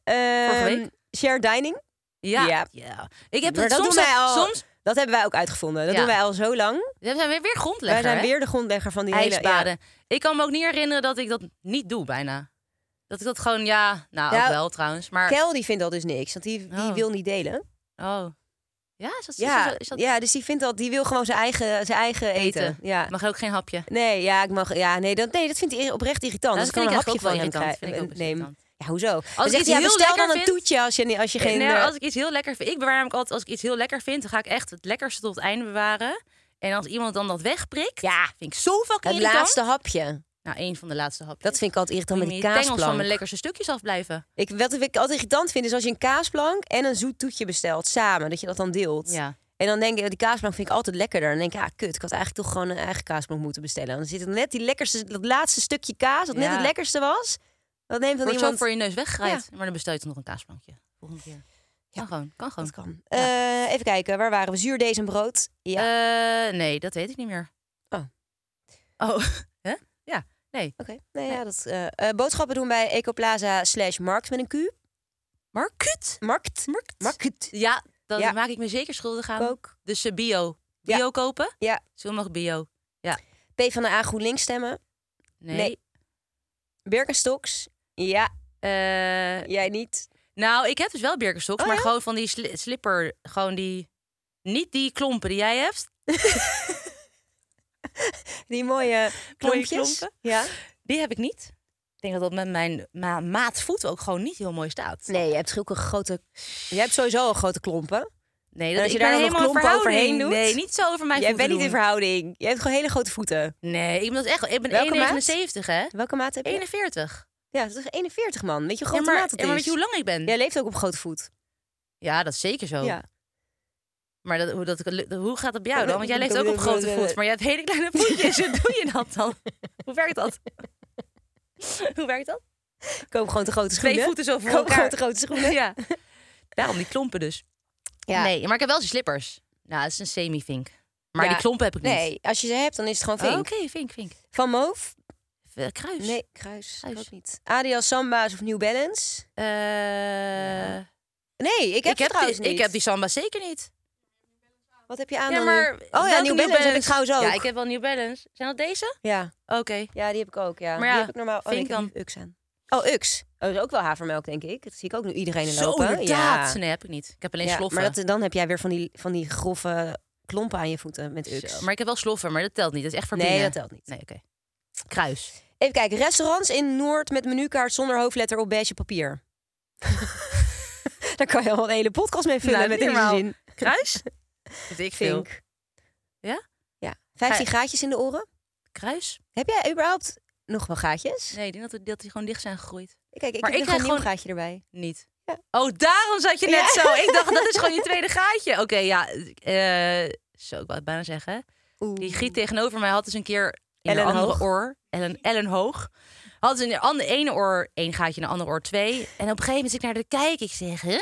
S4: Ehm,
S3: week.
S4: Share dining.
S3: Ja.
S4: ja.
S3: ja. Ik heb
S4: Maar
S3: het
S4: dat
S3: soms,
S4: doen wij al-
S3: soms...
S4: Dat hebben wij ook uitgevonden. Dat
S3: Ja.
S4: doen wij al zo lang.
S3: We zijn weer, weer grondlegger,
S4: wij zijn
S3: hè?
S4: weer de grondlegger van die hele...
S3: ijsbaden. Ik kan me ook niet herinneren dat ik dat niet doe, bijna. Dat ik dat gewoon, ja... Nou,
S4: Nou,
S3: ook wel trouwens,
S4: Ja.
S3: maar...
S4: Kel die vindt dat dus niks, want die, die
S3: Oh.
S4: wil niet delen.
S3: Oh. Ja, is dat, is
S4: Ja,
S3: dat- is dat-
S4: ja, dus die vindt dat, die wil gewoon zijn eigen, zijn eigen eten.
S3: Eten.
S4: Ja.
S3: Mag er ook geen hapje.
S4: Nee, ja, ik mag, ja, nee, dat, nee, dat vindt hij oprecht irritant.
S3: Nou,
S4: Dus
S3: dat
S4: ik kan een
S3: vind ik
S4: hapje van hem
S3: eigenlijk ook wel irritant. Vind ik ook
S4: krijgen.
S3: best
S4: Neem.
S3: irritant.
S4: Ja, hoezo? Als
S3: ik
S4: zegt,
S3: iets
S4: hij, ja,
S3: heel
S4: bestel
S3: lekker
S4: dan een
S3: vind-
S4: toetje als je, als je geen...
S3: Nee,
S4: eh,
S3: als ik iets heel lekker vind. Ik bewaar hem ook altijd als ik iets heel lekker vind, dan ga ik echt het lekkerste tot het einde bewaren. En als iemand dan dat wegprikt,
S4: Ja.
S3: vind ik zo fucking
S4: het
S3: irritant.
S4: laatste hapje.
S3: Nou, één van de laatste hapjes.
S4: Dat vind ik altijd irritant
S3: Moet
S4: met
S3: je
S4: die
S3: die tengels van
S4: kaasplank.
S3: mijn lekkerste stukjes afblijven.
S4: Ik, wat ik altijd irritant vind is als je een kaasplank en een zoet toetje bestelt samen. Dat je dat dan deelt.
S3: Ja.
S4: En dan denk ik, die kaasplank vind ik altijd lekkerder. Dan denk ik, ah, kut, ik had eigenlijk toch gewoon een eigen kaasplank moeten bestellen. Dan zit er net die lekkerste, dat laatste stukje kaas, dat net
S3: Ja.
S4: het lekkerste was. Dat neemt dan
S3: Wordt
S4: iemand...
S3: zo voor je neus weggeraaid. Maar dan bestel je toch nog een kaasplankje. Volgende keer. Kan gewoon, kan gewoon.
S4: Dat kan. Eh, even kijken, waar waren we? Zuurdees en brood. Ja.
S3: Eh, nee, dat weet ik niet meer.
S4: Oh.
S3: Oh, hè? Ja, nee.
S4: Oké. Nee, ja, dat, eh, eh, boodschappen doen bij Ecoplaza slash Markt met een Q.
S3: Markut.
S4: Markt.
S3: Markt.
S4: Markt.
S3: Ja, dat
S4: Ja.
S3: maak ik me zeker schuldig aan.
S4: Kook.
S3: Dus eh, bio.
S4: Ja.
S3: Bio kopen?
S4: Ja.
S3: Zo mag bio.
S4: P van de A GroenLinks stemmen. Nee.
S3: nee.
S4: Birkenstocks. Ja,
S3: Eh,
S4: jij niet.
S3: nou, ik heb dus wel Birkenstocks,
S4: Oh,
S3: maar
S4: ja?
S3: gewoon van die sli- slipper, gewoon die, niet die klompen die jij hebt,
S4: Die mooie klompjes.
S3: klompen.
S4: Ja.
S3: die heb ik niet. Ik denk dat dat met mijn ma maat voet ook gewoon niet heel mooi staat.
S4: Nee, je hebt zulke grote... Je hebt sowieso al grote klompen.
S3: Nee,
S4: En
S3: dat
S4: als je
S3: ik
S4: daar
S3: ben
S4: dan nog
S3: helemaal
S4: klompen
S3: in verhouding.
S4: overheen doet?
S3: Nee, niet zo over mijn
S4: Jij
S3: voeten
S4: bent niet in
S3: doen.
S4: verhouding. Je hebt gewoon hele grote voeten.
S3: Nee, ik ben, dat echt, ik ben
S4: Welke maat?
S3: 1,79 hè?
S4: Welke maat heb je?
S3: 41.
S4: Ja, dat is 41 man. Weet je hoe
S3: Ja,
S4: grote
S3: maar,
S4: maat dat
S3: ja, maar weet
S4: is?
S3: je hoe lang ik ben?
S4: Jij leeft ook op grote voet.
S3: Ja, dat is zeker zo.
S4: Ja.
S3: Maar dat, hoe, dat, hoe gaat dat bij jou dan? Want jij leeft ook op grote voet, maar jij hebt hele kleine voetjes. Hoe doe je dat dan? Hoe werkt dat? Hoe werkt dat?
S4: Koop gewoon te grote schoenen.
S3: Twee voeten zo voor
S4: Koop
S3: elkaar.
S4: gewoon te grote schoenen.
S3: Ja. Daarom die klompen dus.
S4: Ja.
S3: Nee, maar ik heb wel die slippers. Nou, het is een semi-vink. Maar
S4: Ja,
S3: die klompen heb ik niet.
S4: Nee, als je ze hebt, dan is het gewoon
S3: Oh,
S4: vink.
S3: Oké, vink, vink.
S4: Van Moof?
S3: Eh, Kruis.
S4: Nee, Kruis.
S3: Kruis.
S4: Ik ook niet. Adidas, Samba's of New Balance?
S3: Eh,
S4: Nee, ik heb,
S3: ik, Eh, heb
S4: trouwens
S3: die, ik
S4: niet.
S3: heb die samba zeker niet.
S4: Wat heb je aan
S3: Ja,
S4: dan
S3: maar
S4: nu? Oh ja,
S3: welke
S4: New Balance heb ik trouwens ook.
S3: Ja, ik heb wel New Balance. Zijn dat deze?
S4: ja.
S3: Oké.
S4: Ja, die heb ik ook, ja.
S3: Maar ja,
S4: die heb ik normaal... Oh, nee,
S3: vink
S4: ik heb
S3: dan.
S4: nu Ux aan. Oh, Ux. Oh, dat is ook wel havermelk, denk ik. Dat zie ik ook nu iedereen in
S3: Zo,
S4: lopen.
S3: inderdaad.
S4: Ja.
S3: Nee, heb ik niet. Ik heb alleen
S4: Ja,
S3: sloffen.
S4: maar dat, dan heb jij weer van die, van die grove klompen aan je voeten met Ux.
S3: Zo, maar ik heb wel sloffen, maar dat telt niet. Dat is echt voor
S4: nee,
S3: binnen.
S4: dat telt niet.
S3: Nee, oké. Kruis.
S4: Even kijken. Restaurants in Noord met menukaart zonder hoofdletter op beige papier. Daar kan je al een hele podcast mee vullen
S3: Nou,
S4: met
S3: niet
S4: deze
S3: normaal.
S4: zin.
S3: Kruis? Weet ik veel.
S4: Vink.
S3: Ja?
S4: Ja. 15
S3: Ga-
S4: gaatjes in de oren.
S3: Kruis?
S4: Heb jij überhaupt nog wel gaatjes?
S3: Nee, ik denk dat, dat die gewoon dicht zijn gegroeid.
S4: Kijk, ik
S3: Maar
S4: heb
S3: ik
S4: nog een
S3: krijg
S4: nieuw
S3: gewoon-
S4: gaatje erbij.
S3: Niet.
S4: Ja.
S3: Oh, daarom zat je net
S4: Ja.
S3: zo. Ik dacht, dat is gewoon je tweede gaatje. Oké, ja. eh, zo, ik wou het bijna zeggen.
S4: Oeh.
S3: Die giet tegenover mij had dus een keer in
S4: Ellen
S3: een andere
S4: Hoog.
S3: oor. Ellen, Ellen Hoog. Had dus in de ander- ene oor één gaatje, in de andere oor twee. En op een gegeven moment zit ik naar de kijk. Ik zeg, hè?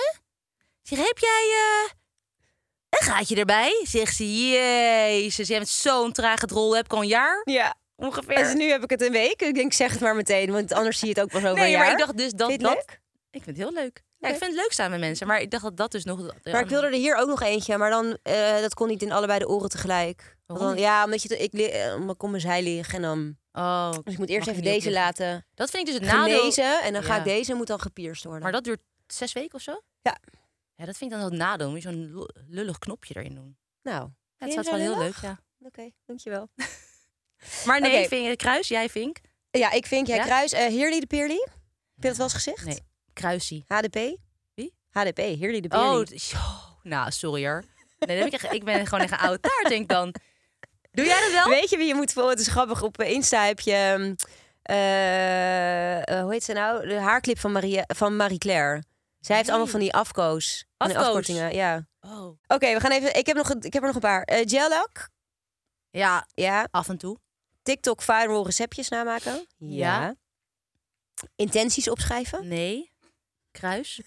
S3: Ik zeg, heb jij eh, een gaatje erbij? Zegt ze, jezus, jij bent zo'n trage drol. Heb ik al een jaar
S4: Ja.
S3: ongeveer.
S4: Dus nu heb ik het een week. Ik denk, ik zeg het maar meteen, want anders zie je het ook pas over een
S3: nee,
S4: jaar.
S3: maar ik dacht dus dat...
S4: Vind je het
S3: dat
S4: leuk?
S3: Ik vind het heel leuk. Ja,
S4: Oké.
S3: ik vind het leuk staan met mensen. Maar ik dacht dat dat dus nog... de
S4: Maar ik wilde
S3: andere-
S4: er hier ook nog eentje, maar dan, eh, dat kon niet in allebei de oren tegelijk. Want
S3: Waarom
S4: dan- ja, omdat je te- ik, li- eh, omdat ik om mijn zij liggen en dan...
S3: Oh,
S4: Dus ik moet eerst
S3: Mag je
S4: even
S3: niet
S4: deze
S3: opleggen.
S4: laten
S3: dat vind ik dus het nadeel.
S4: genezen en dan ga
S3: Ja.
S4: ik deze moet dan gepierst worden.
S3: Maar dat duurt zes weken of zo?
S4: Ja.
S3: Ja, dat vind ik dan het nadeel. Moet je zo'n lu- lullig knopje erin doen.
S4: Nou,
S3: Ja,
S4: Vind
S3: het
S4: je
S3: staat wel
S4: hem zo
S3: heel
S4: lullig?
S3: leuk, ja.
S4: oké, dankjewel.
S3: Maar nee,
S4: Oké.
S3: vink, kruis, jij vink.
S4: Ja, ik vink jij
S3: Ja?
S4: kruis. eh Heerly de Peerly? Heb je dat wel eens gezegd?
S3: Nee. Kruisie.
S4: HDP?
S3: Wie?
S4: HDP, Heerly de Peerly.
S3: Oh, d- zo. nou, sorry hoor. Nee, dan heb ik, echt, ik ben gewoon echt een oude taart, denk ik dan. Doe jij dat wel?
S4: Weet je wie je moet volgen? Het is grappig. Op eh, Insta heb je... ehm, eh, eh, hoe heet ze nou? De haarclip van, Maria, van Marie Claire. Zij heeft
S3: Nee.
S4: allemaal van die afkoos. Van die
S3: Afkoos?
S4: afkortingen, ja.
S3: Oh.
S4: Oké, we gaan even... Ik heb, nog, een- ik heb er nog een paar. Eh Jelak.
S3: Ja,
S4: Ja.
S3: af en toe.
S4: TikTok viral receptjes namaken.
S3: Ja.
S4: Intenties opschrijven.
S3: Nee. Kruis.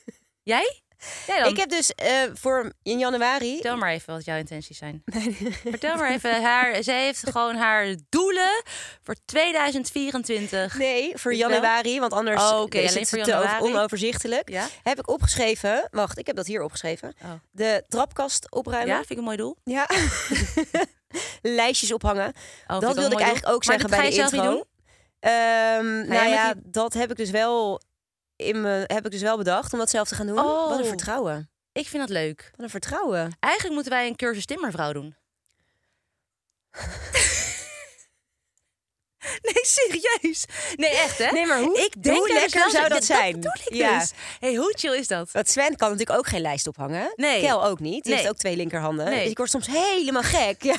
S3: Jij? Jij dan?
S4: Ik heb dus eh, voor in januari...
S3: Vertel maar even wat jouw intenties zijn. Vertel maar even. Haar, zij heeft gewoon haar doelen voor 2024.
S4: Nee, voor
S3: Ik wel.
S4: januari, want anders
S3: Oh, oké,
S4: is
S3: alleen
S4: het
S3: voor
S4: te over-
S3: januari.
S4: onoverzichtelijk.
S3: Ja?
S4: Heb ik opgeschreven... Wacht, ik heb dat hier opgeschreven.
S3: Oh.
S4: De trapkast
S3: Ja,
S4: opruimen.
S3: vind ik een mooi doel. Oh,
S4: Ja. Lijstjes ophangen. dat wilde ik eigenlijk ook
S3: maar
S4: zeggen
S3: dat
S4: bij
S3: ga
S4: de
S3: je zelf
S4: intro.
S3: niet doen?
S4: Ehm,
S3: Ga
S4: nou
S3: jij met
S4: ja, dat heb ik dus wel in me, heb ik dus wel bedacht om dat zelf te gaan doen.
S3: Oh.
S4: Wat een vertrouwen.
S3: Ik vind dat leuk.
S4: Wat een vertrouwen.
S3: Eigenlijk moeten wij een cursus timmervrouw doen. nee, serieus. Nee, echt hè?
S4: Nee, maar hoe-
S3: ik denk
S4: hoe
S3: daar dus
S4: lekker
S3: wel eens-
S4: zou
S3: Ja,
S4: dat zijn?
S3: Dat bedoel ik
S4: Ja.
S3: dus. hey, hoe chill is dat?
S4: Want Sven kan natuurlijk ook geen lijst ophangen.
S3: Nee.
S4: Kel ook niet. Die
S3: Nee.
S4: heeft ook twee linkerhanden.
S3: Nee.
S4: Dus ik word soms helemaal gek. Ja.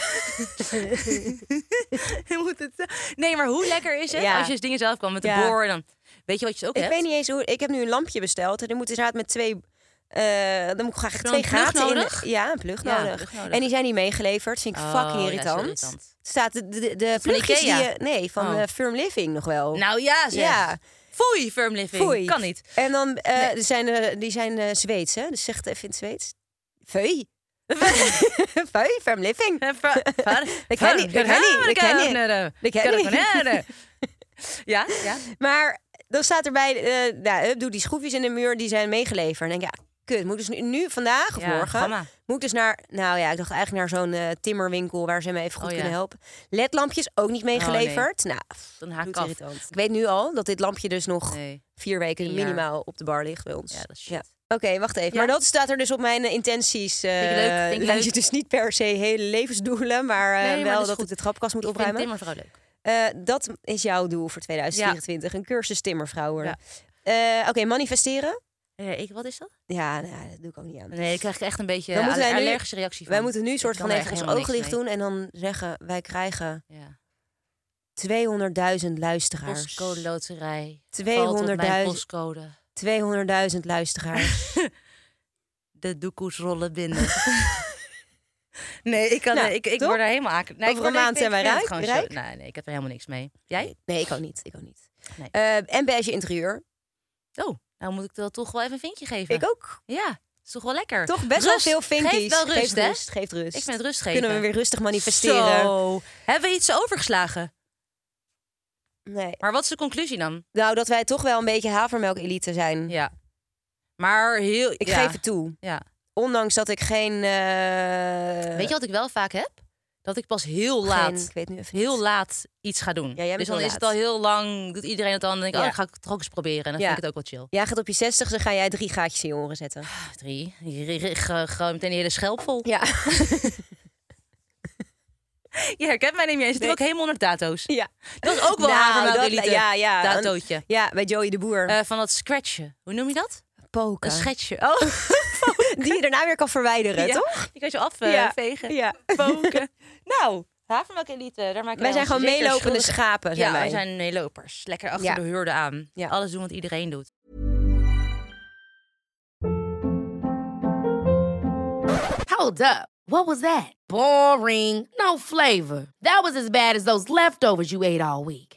S3: Je moet het- Nee, maar hoe lekker is het
S4: Ja.
S3: als je dus dingen zelf kan met de
S4: Ja.
S3: boor en dan... Weet je wat je ook
S4: Ik
S3: hebt?
S4: weet niet eens hoe. Ik heb nu een lampje besteld. En die moet inderdaad met twee. eh, dan moet ik graag
S3: je
S4: twee
S3: een plug
S4: gaten
S3: nodig?
S4: in. Ja, een plug,
S3: Ja, een
S4: nodig.
S3: plug nodig.
S4: En die zijn niet meegeleverd. Vind ik
S3: Oh,
S4: fucking
S3: ja,
S4: irritant.
S3: zo irritant.
S4: Staat de, de, de
S3: van
S4: plugjes die
S3: Ikea?
S4: je- Nee, van
S3: Oh.
S4: eh, Firm Living nog wel.
S3: Nou ja, zeg.
S4: Ja.
S3: Foei, firm living.
S4: Foei.
S3: Kan niet.
S4: En dan eh, er zijn, eh, die zijn eh Zweeds, hè? Dus zeg het even in het Zweeds. Vee. Vee, Firm Living.
S3: Eh, ver- ver-
S4: Ik ken
S3: ver-
S4: niet, ik ken niet, ik ken niet.
S3: Carbonade,
S4: Ik ken niet.
S3: carbonade. Ja, ja.
S4: Maar dan staat erbij, eh nou, hup, doe die schroefjes in de muur, die zijn meegeleverd. En dan denk ik, ja, kut, moet ik dus nu, nu vandaag of
S3: Ja,
S4: morgen,
S3: gamma.
S4: moet ik dus naar, nou ja, ik dacht eigenlijk naar zo'n eh, timmerwinkel waar ze me even goed
S3: Oh, ja. Oh,
S4: kunnen helpen. LED-lampjes ook niet meegeleverd. Nou, pff,
S3: Dan haak ik af.
S4: bloedirritant. Ik weet nu al dat dit lampje dus nog
S3: Nee.
S4: vier weken
S3: Een jaar.
S4: minimaal op de bar ligt bij ons.
S3: Ja, dat is shit.
S4: Oké, wacht even.
S3: Ja.
S4: Maar dat staat er dus op mijn eh, intenties. eh
S3: Vind ik leuk, vind ik
S4: lijstje.
S3: leuk.
S4: Dus niet per se hele levensdoelen, maar eh,
S3: Nee, maar dat
S4: wel
S3: is
S4: dat,
S3: goed.
S4: ik de trapkast moet
S3: Ik vind
S4: opruimen.
S3: timmervrouw leuk.
S4: Eh, dat is jouw doel voor 2024. Een cursus timmervrouwen.
S3: Ja.
S4: Eh, Oké, manifesteren.
S3: Eh, ik, wat is dat?
S4: Ja, nou, dat doe ik ook niet aan.
S3: Nee, daar krijg ik echt een beetje
S4: Dan
S3: een
S4: moeten wij nu-
S3: allergische reactie van.
S4: Wij moeten nu een
S3: Ik
S4: soort
S3: kan
S4: van
S3: daar
S4: even
S3: echt
S4: ons
S3: helemaal
S4: ogen
S3: niks
S4: dicht doen en dan zeggen: wij krijgen
S3: mee. Ja.
S4: 200.000 luisteraars.
S3: Postcode loterij.
S4: 200.000.
S3: 200.000. Postcode.
S4: 200.000 luisteraars.
S3: De doekoes rollen binnen. nee, ik, kan,
S4: Nou,
S3: ik, ik
S4: toch?
S3: word er helemaal aan. Nee, ik
S4: Over
S3: word
S4: een
S3: er-
S4: maand
S3: ik-
S4: zijn
S3: ik
S4: wij
S3: vind het
S4: rijk-
S3: gewoon zo-
S4: rijk?
S3: Nee, nee, ik heb er helemaal niks mee. Jij?
S4: Nee, ik ook niet. Ik ook niet.
S3: Nee.
S4: Eh, en beige interieur.
S3: Oh, nou moet ik dat toch wel even een vinkje geven.
S4: Ik ook.
S3: Ja. is toch wel lekker?
S4: Toch best
S3: Rust.
S4: wel veel vinkies.
S3: Geeft wel rust,
S4: geeft
S3: hè?
S4: rust, geeft rust.
S3: Ik vind het rust geven.
S4: Dus Kunnen we weer rustig manifesteren.
S3: Zo. Hebben we iets overgeslagen?
S4: Nee.
S3: Maar wat is de conclusie dan?
S4: Nou, dat wij toch wel een beetje havermelk-elite zijn.
S3: Ja. Maar heel...
S4: Mm. Ik
S3: ja.
S4: geef het toe.
S3: Ja.
S4: Ondanks dat ik geen... eh,
S3: Weet je wat ik wel vaak heb? Dat ik pas heel
S4: geen-
S3: laat,
S4: ik weet nu even
S3: heel
S4: niet.
S3: laat iets ga doen.
S4: Ja, jij bent
S3: dus dan
S4: heel
S3: is het
S4: laat.
S3: al heel lang, doet iedereen het dan. Dan denk
S4: Ja.
S3: ik, oh, dan ga ik het toch ook eens proberen. En dan
S4: Ja.
S3: vind ik het ook wel chill.
S4: Jij gaat op je zestigste, ga jij drie gaatjes in je oren zetten.
S3: Ah, Drie. Ik ga gewoon meteen die hele schelp vol.
S4: Ja.
S3: Je herkent mij niet meer. Je zit
S4: Nee.
S3: ook helemaal onder dato's.
S4: ja.
S3: Dat is ook wel
S4: Nou,
S3: havermelk
S4: dat-
S3: elite.
S4: ja, ja.
S3: Datootje.
S4: Ja, bij Joey de Boer.
S3: Eh, van dat scratchen. Hoe noem je dat?
S4: Poken.
S3: Een schetje. Oh,
S4: Die je daarna weer kan verwijderen,
S3: ja.
S4: toch?
S3: Die kan je
S4: eh,
S3: afvegen.
S4: Ja.
S3: Poken. nou, havermelk elite. Daar maken
S4: Wij zijn
S3: ons
S4: gewoon
S3: zeker
S4: meelopende
S3: schuldig.
S4: schapen, zijn
S3: ja,
S4: wij.
S3: wij zijn meelopers. Lekker achter
S4: Ja.
S3: de hurde aan.
S4: Ja.
S3: Alles doen wat iedereen doet.
S2: Hold up. What was that? Boring. No flavor. That was as bad as those leftovers you ate all week.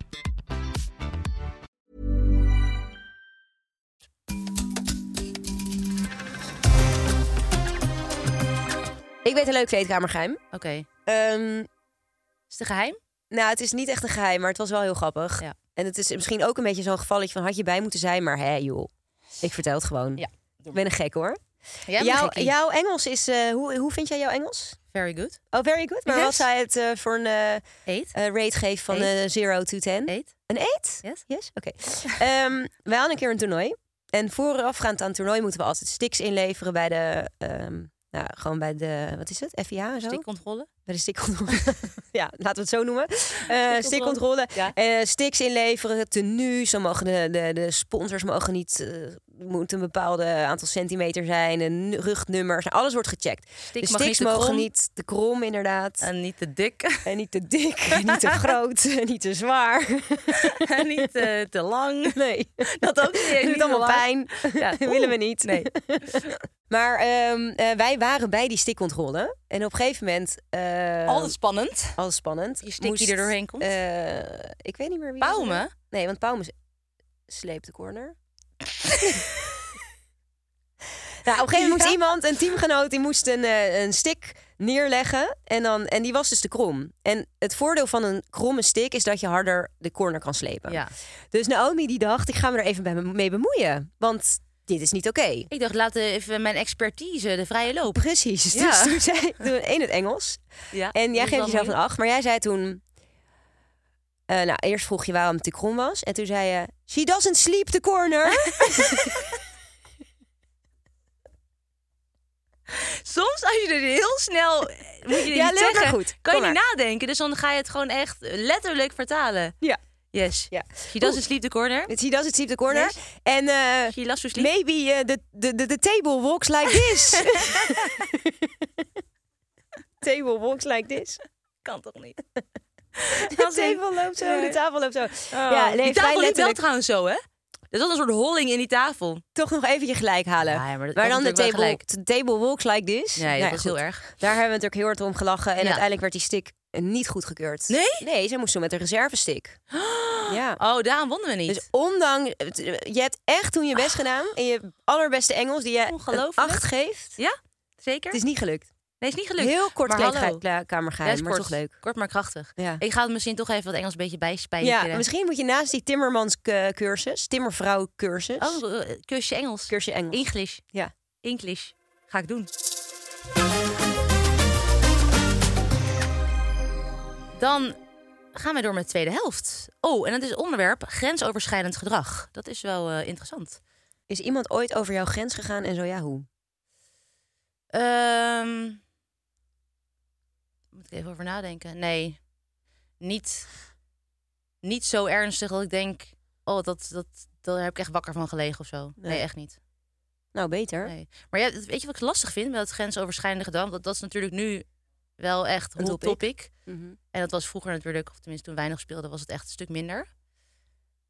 S4: Ik weet een leuk kleedkamergeheim.
S3: Oké.
S4: Ehm,
S3: Is het een geheim?
S4: nou, het is niet echt een geheim, maar het was wel heel grappig.
S3: Ja.
S4: En het is misschien ook een beetje zo'n gevalletje van had je bij moeten zijn, maar hé joh. Ik vertel het gewoon.
S3: Ja.
S4: Ik ben een gek hoor.
S3: Jij bent
S4: jouw,
S3: gekkie.
S4: jouw Engels is, eh, hoe, hoe vind jij jouw Engels?
S3: Very good.
S4: Oh, very good. Maar wat
S3: Yes.
S4: zou je het eh, voor een eh, eh,
S3: Eet.
S4: rate geven van
S3: Eight.
S4: eh 0 to 10?
S3: Eet.
S4: Een 8?
S3: Yes.
S4: Yes? oh. Oké. Ehm, wij hadden een keer een toernooi. En voorafgaand aan het toernooi moeten we altijd sticks inleveren bij de... ehm, nou, gewoon bij de, wat is het? FIA en zo?
S3: Stikcontrole.
S4: Bij de stikcontrole. ja, laten we het zo noemen. Eh stikcontrole.
S3: Ja.
S4: Eh, sticks inleveren, tenue. Zo mogen de, de, de sponsors mogen niet... eh, moet een bepaalde aantal centimeter zijn. Een nu- rugnummers. Nou, alles wordt gecheckt.
S3: Stik
S4: de
S3: mag
S4: sticks
S3: niet te
S4: mogen
S3: krom.
S4: niet te krom, inderdaad. En,
S3: En niet te dik.
S4: niet te dik. en niet te groot. en niet te zwaar.
S3: en niet eh, te lang.
S4: Nee.
S3: Dat ook niet.
S4: Het
S3: Niet
S4: doet allemaal
S3: te
S4: pijn.
S3: lang. Ja.
S4: Dat willen we niet. Nee. maar ehm, eh, wij waren bij die stikcontrole. En op een gegeven moment... eh,
S3: Altijd spannend.
S4: alles spannend.
S3: Die stik die er doorheen komt.
S4: eh, ik weet niet meer wie... was het nou?
S3: Pauwme.
S4: Nee, want Pauwme s- sleept de corner. nou, op een gegeven moment moest
S3: Ja.
S4: iemand, een teamgenoot, die moest een, eh, een stick neerleggen. En, dan, en die was dus de krom. En het voordeel van een kromme stick is dat je harder de corner kan slepen.
S3: Ja.
S4: Dus Naomi die dacht, ik ga me er even bij me- mee bemoeien. Want dit is niet oké.
S3: Ik dacht, laat eh, even mijn expertise de vrije loop.
S4: Precies.
S3: Ja.
S4: Dus toen zei toen één het Engels.
S3: Ja.
S4: En jij
S3: Dat is
S4: geeft
S3: wel
S4: jezelf een
S3: moeilijk.
S4: acht. Maar jij zei toen... eh, nou, eerst vroeg je waarom het te krom was. En toen zei je... She doesn't sleep the corner.
S3: Soms als je er heel snel... eh, Moet je dit
S4: Ja,
S3: niet
S4: leuk, maar
S3: zeggen,
S4: goed.
S3: Kan je
S4: Kom
S3: niet nadenken. Dus dan ga je het gewoon echt letterlijk vertalen.
S4: ja.
S3: Yes.
S4: ja.
S3: She doesn't sleep the corner.
S4: She doesn't sleep the corner.
S3: Yes.
S4: En eh,
S3: She loves to sleep.
S4: maybe eh, the, the, the, the table walks like this. table walks like this.
S3: Kan toch niet?
S4: De tafel loopt zo, de tafel loopt zo.
S3: Ja,
S4: Ja, nee,
S3: Oh.
S4: vrij
S3: die tafel die wel
S4: letterlijk.
S3: trouwens zo, hè? Er zat een soort holling in die tafel.
S4: toch nog even je gelijk halen.
S3: Ja, maar dat was
S4: dan de
S3: natuurlijk wel
S4: table,
S3: gelijk.
S4: de table walks like this.
S3: Nee, dat
S4: Nou ja,
S3: was
S4: goed.
S3: heel erg.
S4: Daar hebben we natuurlijk heel hard om gelachen. En
S3: Ja.
S4: uiteindelijk werd die stick niet goedgekeurd.
S3: Nee?
S4: Nee, ze moest toen met een reservestick. ja.
S3: Oh, daarom wonnen we niet. Ah.
S4: Dus ondanks... Je hebt echt toen je best gedaan. In je allerbeste Engels, die je een
S3: Ongelooflijk.
S4: acht geeft.
S3: ja, zeker?
S4: Het is niet gelukt.
S3: Nee, is niet gelukt.
S4: Heel kort
S3: maar hallo. Ja,
S4: kleedkamergeheim,
S3: is
S4: maar
S3: kort.
S4: toch leuk.
S3: Kort maar krachtig.
S4: Ja.
S3: Ik ga het misschien toch even dat Engels een beetje bijspijken.
S4: Ja, misschien moet je naast die timmermanscursus, timmervrouwcursus,
S3: Oh, eh, kusje Engels.
S4: cursus Engels.
S3: English.
S4: Ja.
S3: English. Ga ik doen. Dan gaan we door met de tweede helft. Oh, en dat is het onderwerp grensoverschrijdend gedrag. Dat is wel eh, interessant.
S4: Is iemand ooit over jouw grens gegaan en zo ja, hoe?
S3: Ehm, moet ik even over nadenken. Nee, niet, niet zo ernstig dat ik denk... oh, dat, dat, daar heb ik echt wakker van gelegen of zo. Nee,
S4: Nee.
S3: echt niet.
S4: Nou, beter.
S3: Nee. Maar ja, dat- weet je wat ik lastig vind met dat grensoverschrijdende gedrag? Want dat is natuurlijk nu wel echt
S4: Een
S3: hot
S4: topic.
S3: topic.
S4: Mhm.
S3: En dat was vroeger natuurlijk, of tenminste toen weinig speelde, was het echt een stuk minder.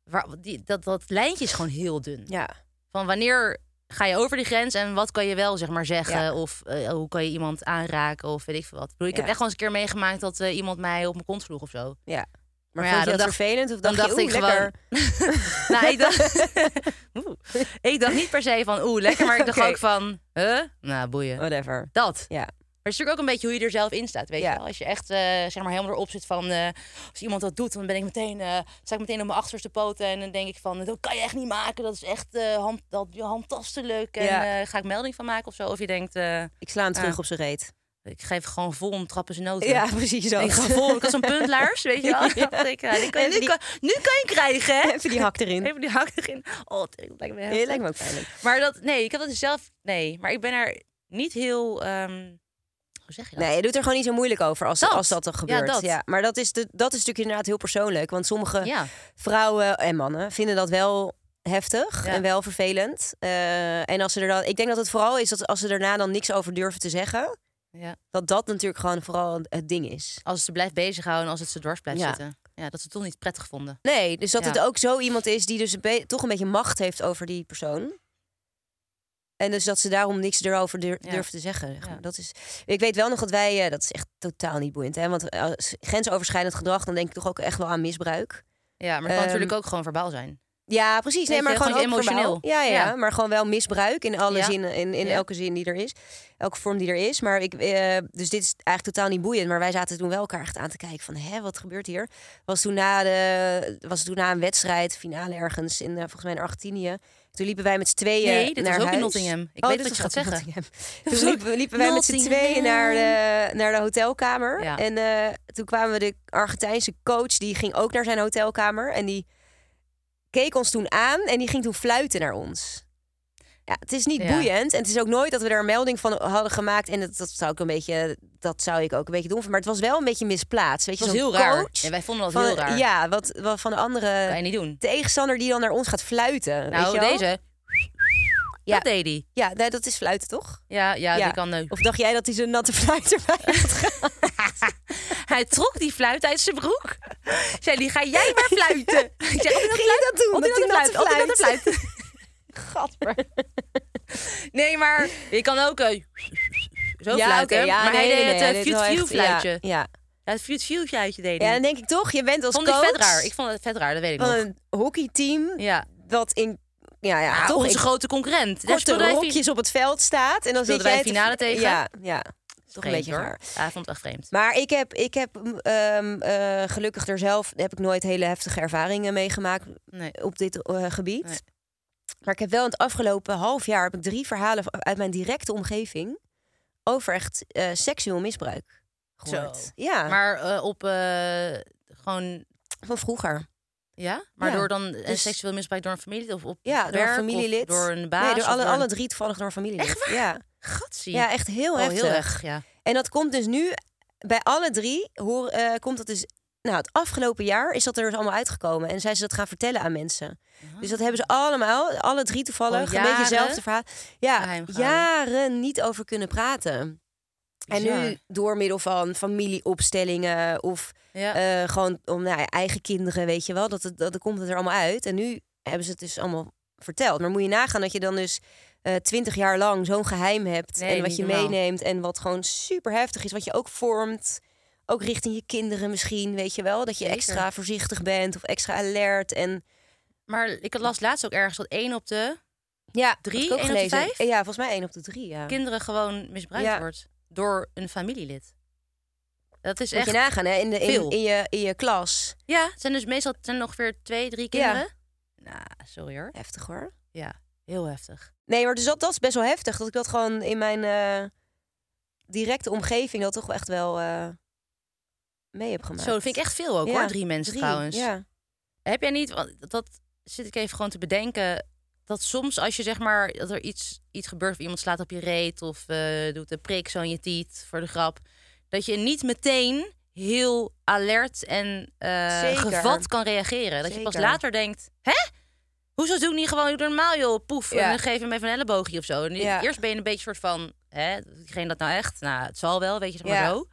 S3: waar, die, dat, dat lijntje is gewoon heel dun.
S4: Ja.
S3: Van wanneer ga je over die grens en wat kan je wel zeg maar zeggen?
S4: Ja.
S3: Of eh, hoe kan je iemand aanraken of weet ik veel wat. Ik, bedoel, ik
S4: Ja.
S3: heb echt wel eens een keer meegemaakt dat eh, iemand mij op mijn kont vroeg of zo.
S4: ja. Maar,
S3: ja,
S4: vond je
S3: dan
S4: dat
S3: dacht-
S4: vervelend? Of
S3: Dan
S4: dacht,
S3: dacht,
S4: je,
S3: ik
S4: oeh, lekker.
S3: gewoon... nou, ik dacht... Oeh. ik dacht niet per se van oeh, lekker, maar ik dacht
S4: Oké.
S3: ook van... Huh? Nou, boeien.
S4: Whatever.
S3: Dat.
S4: Ja.
S3: Maar het is natuurlijk ook een beetje hoe je er zelf in staat, weet
S4: Ja.
S3: je wel. Als je echt eh, zeg maar helemaal erop zit van... eh, als iemand dat doet, dan ben ik meteen, eh, sta ik meteen op mijn achterste poten... en dan denk ik van, dat kan je echt niet maken. Dat is echt eh hand, dat, handtastelijk. En
S4: Ja.
S3: eh, ga ik melding van maken of zo? Of je denkt, eh,
S4: Ik sla hem
S3: Ja.
S4: terug op zijn reet.
S3: ik geef gewoon vol om trappen zijn noten.
S4: Ah. Ja, precies zo.
S3: Ik ga vol, ik had zo'n puntlaars, weet je wel. Ik dacht, ik, eh, dit kan je- nu,
S4: Even die-
S3: kan, nu kan je krijgen, hè?
S4: Even die hak erin.
S3: Even die hak erin. Oh, dat lijkt me heel
S4: Ja, lijkt me ook pijnlijk.
S3: Maar dat, nee, ik heb dat dus zelf, nee. Maar ik ben er niet heel, ehm, hoe zeg je dat?
S4: Nee, je doet er gewoon niet zo moeilijk over als dat,
S3: Dat.
S4: als dat er
S3: Ja,
S4: gebeurt.
S3: dat.
S4: Maar dat is, de, dat is natuurlijk inderdaad heel persoonlijk. Want sommige
S3: Ja.
S4: vrouwen en mannen vinden dat wel heftig
S3: Ja.
S4: en wel vervelend. Eh, en als ze er dan, ik denk dat het vooral is dat als ze daarna dan niks over durven te zeggen,
S3: ja.
S4: dat dat natuurlijk gewoon vooral het ding is.
S3: Als het ze blijft bezighouden en als het ze dwars blijft
S4: Ja.
S3: zitten. Ja, dat ze het toch niet prettig vonden.
S4: Nee, dus dat
S3: Ja.
S4: het ook zo iemand is die dus een be- toch een beetje macht heeft over die persoon. En dus dat ze daarom niks erover dur-
S3: Ja.
S4: durven te zeggen. zeg maar.
S3: Ja.
S4: Dat is, ik weet wel nog dat wij, eh, dat is echt totaal niet boeiend. Hè? Want als grensoverschrijdend gedrag, dan denk ik toch ook echt wel aan misbruik.
S3: Ja, maar het kan
S4: Ehm, eh,
S3: natuurlijk ook gewoon verbaal zijn.
S4: Ja, precies. Nee,
S3: Weet
S4: maar
S3: je,
S4: gewoon,
S3: gewoon
S4: ook verbaal.
S3: emotioneel.
S4: Ja, ja,
S3: Ja.
S4: maar gewoon wel misbruik in alle
S3: Ja.
S4: zinnen, in, in
S3: Ja.
S4: elke zin die er is. Elke vorm die er is. Maar ik, eh, dus dit is eigenlijk totaal niet boeiend. Maar wij zaten toen wel elkaar echt aan te kijken van, hè, wat gebeurt hier? Was toen na, de, was toen na een wedstrijd, finale ergens, in, eh, volgens mij in Argentinië. Toen liepen wij met z'n tweeën
S3: Nee, dit was
S4: naar
S3: ook in
S4: huis.
S3: Nottingham. Ik
S4: Oh,
S3: weet
S4: dit
S3: wat je
S4: was
S3: gaat
S4: ook in
S3: zeggen.
S4: Nottingham.
S3: was
S4: Toen
S3: ook
S4: liepen, liepen wij met z'n
S3: Nottingham.
S4: tweeën naar de, eh, naar de hotelkamer.
S3: Ja.
S4: En eh, toen kwamen we de Argentijnse coach, die ging ook naar zijn hotelkamer. En die keek ons toen aan en die ging toen fluiten naar ons. Ja, het is niet
S3: Ja.
S4: boeiend en het is ook nooit dat we daar een melding van hadden gemaakt. En dat, dat zou ik een beetje, dat zou ik ook een beetje doen. Maar het was wel een beetje misplaatst. Weet
S3: Het
S4: je,
S3: was
S4: zo'n
S3: heel raar.
S4: coach
S3: Ja, wij vonden dat
S4: van,
S3: heel raar.
S4: Ja, wat, wat van de
S3: Kan je
S4: andere
S3: niet doen.
S4: tegenstander die dan naar ons gaat fluiten. weet
S3: Nou,
S4: je wel?
S3: deze.
S4: Ja.
S3: Dat deed hij.
S4: Ja, nee, dat is fluiten toch?
S3: Ja, ja,
S4: Ja.
S3: die kan... eh,
S4: Of dacht jij dat hij zo'n natte fluiter bij had gehaald?
S3: Hij trok die fluit uit zijn broek. Ik zei, die ga jij maar fluiten. Ik zei,
S4: Ging je dat doen?
S3: Op die
S4: Met die
S3: natte fluit. Op
S4: natte
S3: die natte
S4: fluit.
S3: fluit.
S4: Gadver.
S3: Nee, maar je kan ook eh, zo
S4: Ja,
S3: fluiten.
S4: oké, ja,
S3: maar
S4: nee,
S3: hij
S4: nee,
S3: deed
S4: nee,
S3: het
S4: dit
S3: eh,
S4: is wel
S3: fiut-fiut
S4: echt- ja,
S3: fluitje. Ja,
S4: Ja,
S3: het fiut-fiut fluitje deed hij.
S4: ja, dan denk ik toch, je bent als
S3: vond ik
S4: coach
S3: vet raar. Ik vond het vet raar, dat weet ik
S4: van
S3: nog.
S4: een hockeyteam
S3: Ja.
S4: dat in ja, ja,
S3: Ah,
S4: toch
S3: onze
S4: in
S3: grote concurrent. Daar
S4: korte
S3: speelden wij fi-
S4: rokjes op het veld staat. En dan zit
S3: Speelden
S4: jij
S3: wij
S4: te-
S3: finale tegen?
S4: Ja, ja. Toch een
S3: Vreemd,
S4: beetje
S3: hoor.
S4: raar.
S3: Ja, hij Ah, vond het echt vreemd.
S4: Maar ik heb, ik heb mm, ehm, eh, gelukkig er zelf heb ik nooit hele heftige ervaringen meegemaakt
S3: Nee.
S4: op dit eh, gebied.
S3: Nee.
S4: Maar ik heb wel in het afgelopen half jaar heb ik drie verhalen v- uit mijn directe omgeving over echt eh, seksueel misbruik gehoord.
S3: Zo.
S4: Ja,
S3: Maar eh, op eh, gewoon,
S4: van vroeger.
S3: ja? Maar
S4: Ja.
S3: door dan een
S4: Dus-
S3: seksueel misbruik door een familie of op
S4: Ja, door een
S3: werk, of
S4: familielid.
S3: door een baas?
S4: nee, door
S3: of
S4: alle,
S3: door
S4: alle
S3: een-
S4: drie toevallig door een familielid. Ja.
S3: Gatsie.
S4: ja, echt heel
S3: Oh,
S4: heftig.
S3: heel erg, ja.
S4: En dat komt dus nu bij alle drie. Hoor, eh, komt dat dus. Nou, het afgelopen jaar is dat er dus allemaal uitgekomen. En zijn ze dat gaan vertellen aan mensen. Dus dat hebben ze allemaal, alle drie toevallig,
S3: Al
S4: een beetje
S3: Ah. Oh, jaren
S4: hetzelfde verhaal. Ja,
S3: geheim gehouden.
S4: jaren niet over kunnen praten. En nu
S3: Bizar.
S4: door middel van familieopstellingen of
S3: Ja.
S4: eh, gewoon om nou, ja, eigen kinderen, weet je wel, dat, het, dat, dat komt het er allemaal uit. En nu hebben ze het dus allemaal verteld. Maar moet je nagaan dat je dan dus twintig jaar lang zo'n geheim hebt
S3: Nee,
S4: en wat
S3: niet
S4: je
S3: normaal.
S4: meeneemt en wat gewoon super heftig is, wat je ook vormt. Ook richting je kinderen misschien, weet je wel. Dat je
S3: Zeker.
S4: extra voorzichtig bent of extra alert. En
S3: Maar ik las laatst ook ergens dat één op de
S4: ja,
S3: Drie,
S4: had ik ook
S3: één op de
S4: gelezen.
S3: vijf?
S4: Ja, volgens mij één op de drie, ja.
S3: kinderen gewoon misbruikt
S4: Ja.
S3: wordt door een familielid. Dat is
S4: Moet je
S3: echt...
S4: nagaan, hè? In, de, in,
S3: veel.
S4: in, je, in je klas.
S3: Ja, het zijn dus meestal het zijn er ongeveer twee, drie
S4: Ja.
S3: kinderen. Nou, sorry hoor.
S4: Heftig hoor.
S3: Ja, heel heftig.
S4: Nee, maar dus dat, dat is best wel heftig. Dat ik dat gewoon in mijn eh, directe omgeving dat toch wel echt wel eh, mee heb gemaakt.
S3: Zo, dat vind ik echt veel ook
S4: Ja,
S3: hoor, drie mensen
S4: Drie,
S3: trouwens.
S4: Ja.
S3: Heb jij niet, want dat zit ik even gewoon te bedenken, dat soms als je zeg maar, dat er iets, iets gebeurt of iemand slaat op je reet of eh, doet een prik zo in je tiet voor de grap, dat je niet meteen heel alert en eh,
S4: Zeker.
S3: gevat kan reageren. Dat je pas
S4: Zeker.
S3: later denkt, hè? Hoezo doe ik niet gewoon normaal joh, poef,
S4: Ja.
S3: en dan geef je hem even een elleboogje of zo. En
S4: Ja.
S3: Eerst ben je een beetje soort van, hè, doet diegene dat nou echt? Nou, het zal wel, weet je, zeg maar
S4: Ja.
S3: zo.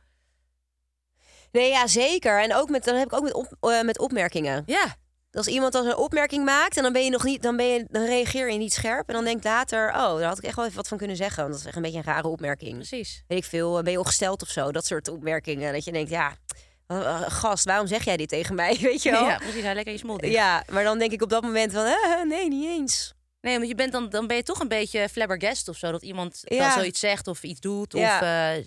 S4: Nee, ja, zeker. En ook met, dat heb ik ook met, op, eh, met opmerkingen.
S3: Ja,
S4: Als iemand dan een opmerking maakt en dan ben je nog niet, dan, ben je, dan reageer je niet scherp. En dan denkt later, oh, daar had ik echt wel even wat van kunnen zeggen. Want dat is echt een beetje een rare opmerking.
S3: Precies.
S4: Weet ik veel, eh, ben je ongesteld of zo? Dat soort opmerkingen. Dat je denkt, ja, eh, gast, waarom zeg jij dit tegen mij? Weet je wel?
S3: Ja, precies. Hij lekker je smoel dicht.
S4: Ja, maar dan denk ik op dat moment van, eh, nee, niet eens.
S3: Nee, want je bent dan, dan ben je toch een beetje flabbergast of zo. Dat iemand
S4: Ja.
S3: dan zoiets zegt of iets doet.
S4: Ja.
S3: Of eh, eh,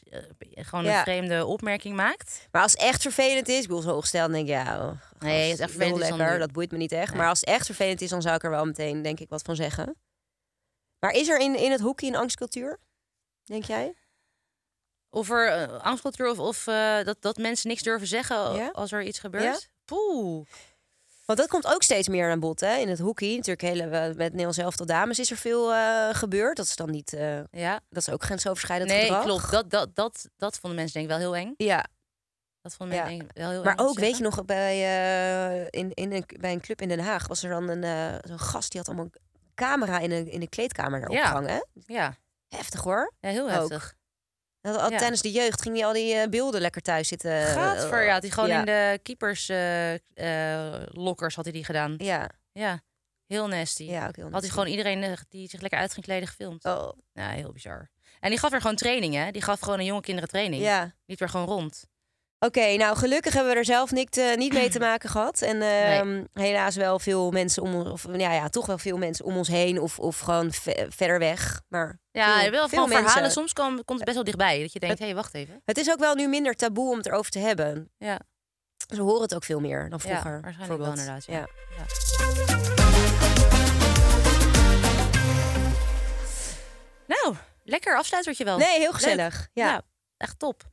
S3: gewoon een
S4: Ja.
S3: vreemde opmerking maakt.
S4: Maar als het echt vervelend is, ik bedoel, zo ongesteld, dan denk ik, ja, oh, gast,
S3: Nee, het is echt vervelend
S4: heel
S3: is dan
S4: lekker,
S3: niet.
S4: dat boeit me niet echt. Maar als het echt vervelend is, dan zou ik er wel meteen, denk ik, wat van zeggen. Maar is er in, in het hoekje een angstcultuur, denk jij?
S3: Of er eh, angstcultuur of, of eh, dat, dat mensen niks durven zeggen
S4: Ja.
S3: als er iets gebeurt. Poeh.
S4: Want dat komt ook steeds meer aan bod, hè? In het hockey, natuurlijk hele, eh, met Nederlands zelf tot dames is er veel eh, gebeurd. Dat is dan niet, eh,
S3: Ja.
S4: dat is ook grensoverschrijdend
S3: nee,
S4: gedrag.
S3: klopt. Dat, dat, dat, dat vonden mensen denk ik wel heel eng.
S4: Ja,
S3: Dat vonden mensen
S4: Ja.
S3: denk ik wel heel
S4: maar
S3: eng om te
S4: ook, weet je
S3: zeggen.
S4: nog, bij, eh, in, in een, bij een club in Den Haag was er dan een eh, zo'n gast die had allemaal een camera in een, in een kleedkamer
S3: Ja.
S4: opgehangen. hè?
S3: Ja.
S4: Heftig hoor.
S3: ja, heel
S4: Ook.
S3: heftig.
S4: Dat al
S3: Ja.
S4: Tijdens de jeugd ging hij al die eh, beelden lekker thuis zitten. eh,
S3: Gadver, ja. had hij gewoon
S4: ja.
S3: in de keepers eh, eh, lockers had hij die gedaan.
S4: Ja,
S3: Ja. Heel nasty.
S4: ja ook heel
S3: Had hij
S4: netjes.
S3: gewoon iedereen eh, die zich lekker uit ging kleden gefilmd.
S4: Oh,
S3: Ja, heel bizar. En die gaf er gewoon training, hè? Die gaf gewoon aan jonge kinderen training.
S4: ja.
S3: Liep er gewoon rond.
S4: Oké, nou gelukkig hebben we er zelf niks, eh, niet mee te maken gehad. En ehm, helaas wel veel mensen om ons, of ja, ja, toch wel veel mensen om ons heen of, of gewoon ve- verder weg. Maar
S3: Ja,
S4: veel,
S3: wel
S4: veel
S3: veel
S4: mensen.
S3: verhalen. Soms kom- komt het best wel dichtbij. Dat je denkt, hé, hey, wacht even.
S4: Het is ook wel nu minder taboe om het erover te hebben.
S3: Ja,
S4: Ze horen het ook veel meer dan vroeger.
S3: ja waarschijnlijk wel
S4: bijvoorbeeld.
S3: inderdaad. Ja.
S4: Ja.
S3: Ja. Nou, lekker afsluitertje wel.
S4: Nee, heel
S3: Oh, Leuk.
S4: gezellig.
S3: Ja.
S4: Ja.
S3: echt top.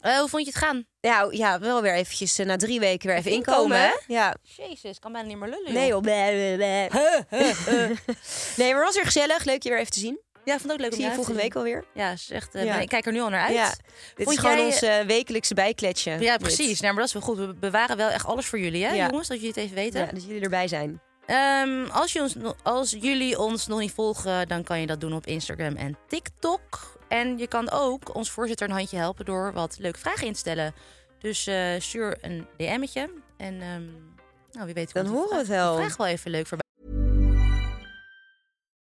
S3: Eh, hoe vond je het gaan?
S4: Ja. ja, wel weer eventjes eh, na drie weken weer even
S3: Even
S4: inkomen.
S3: inkomen,
S4: hè? Ja.
S3: Jezus, kan bijna niet meer lullen.
S4: Nee, joh. Bleh, bleh, bleh. nee, maar was weer gezellig. Leuk je weer even te zien.
S3: Ja, ik vond het ook leuk om
S4: Zie je
S3: uit te
S4: volgende
S3: zien.
S4: week alweer.
S3: Ja, is echt, eh,
S4: Ja.
S3: ik kijk er nu al naar uit.
S4: Ja. Dit
S3: Vond
S4: is gewoon
S3: jij-
S4: ons eh, wekelijkse bijkletje.
S3: Ja,
S4: Dit.
S3: precies. Nou, maar dat is wel goed. We bewaren wel echt alles voor jullie, hè,
S4: Ja.
S3: jongens? Dat jullie het even weten.
S4: Ja, dat jullie erbij zijn.
S3: Ehm, als, je ons, no- als jullie ons nog niet volgen, dan kan je dat doen op Instagram en TikTok. En je kan ook ons voorzitter een handje helpen door wat leuke vragen in te stellen. Dus eh, stuur een DM'tje. En ehm, nou, wie weet
S4: Dan
S3: komt die
S4: horen we
S3: vraag-
S4: het wel.
S3: die Vraag wel even leuk voorbij.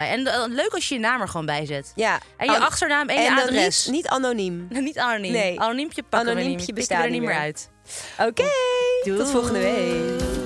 S3: En eh, leuk als je je naam er gewoon bij zet.
S4: Ja.
S3: En je
S4: An-
S3: achternaam en, je
S4: en de
S3: adres.
S4: rest. Niet anoniem.
S3: Niet anoniem.
S4: Nee.
S3: Anoniempje pakken we
S4: Anoniempje
S3: niet meer. Pikken
S4: bestaat
S3: we er niet
S4: niet
S3: meer
S4: meer.
S3: uit.
S4: Oké. Tot volgende week.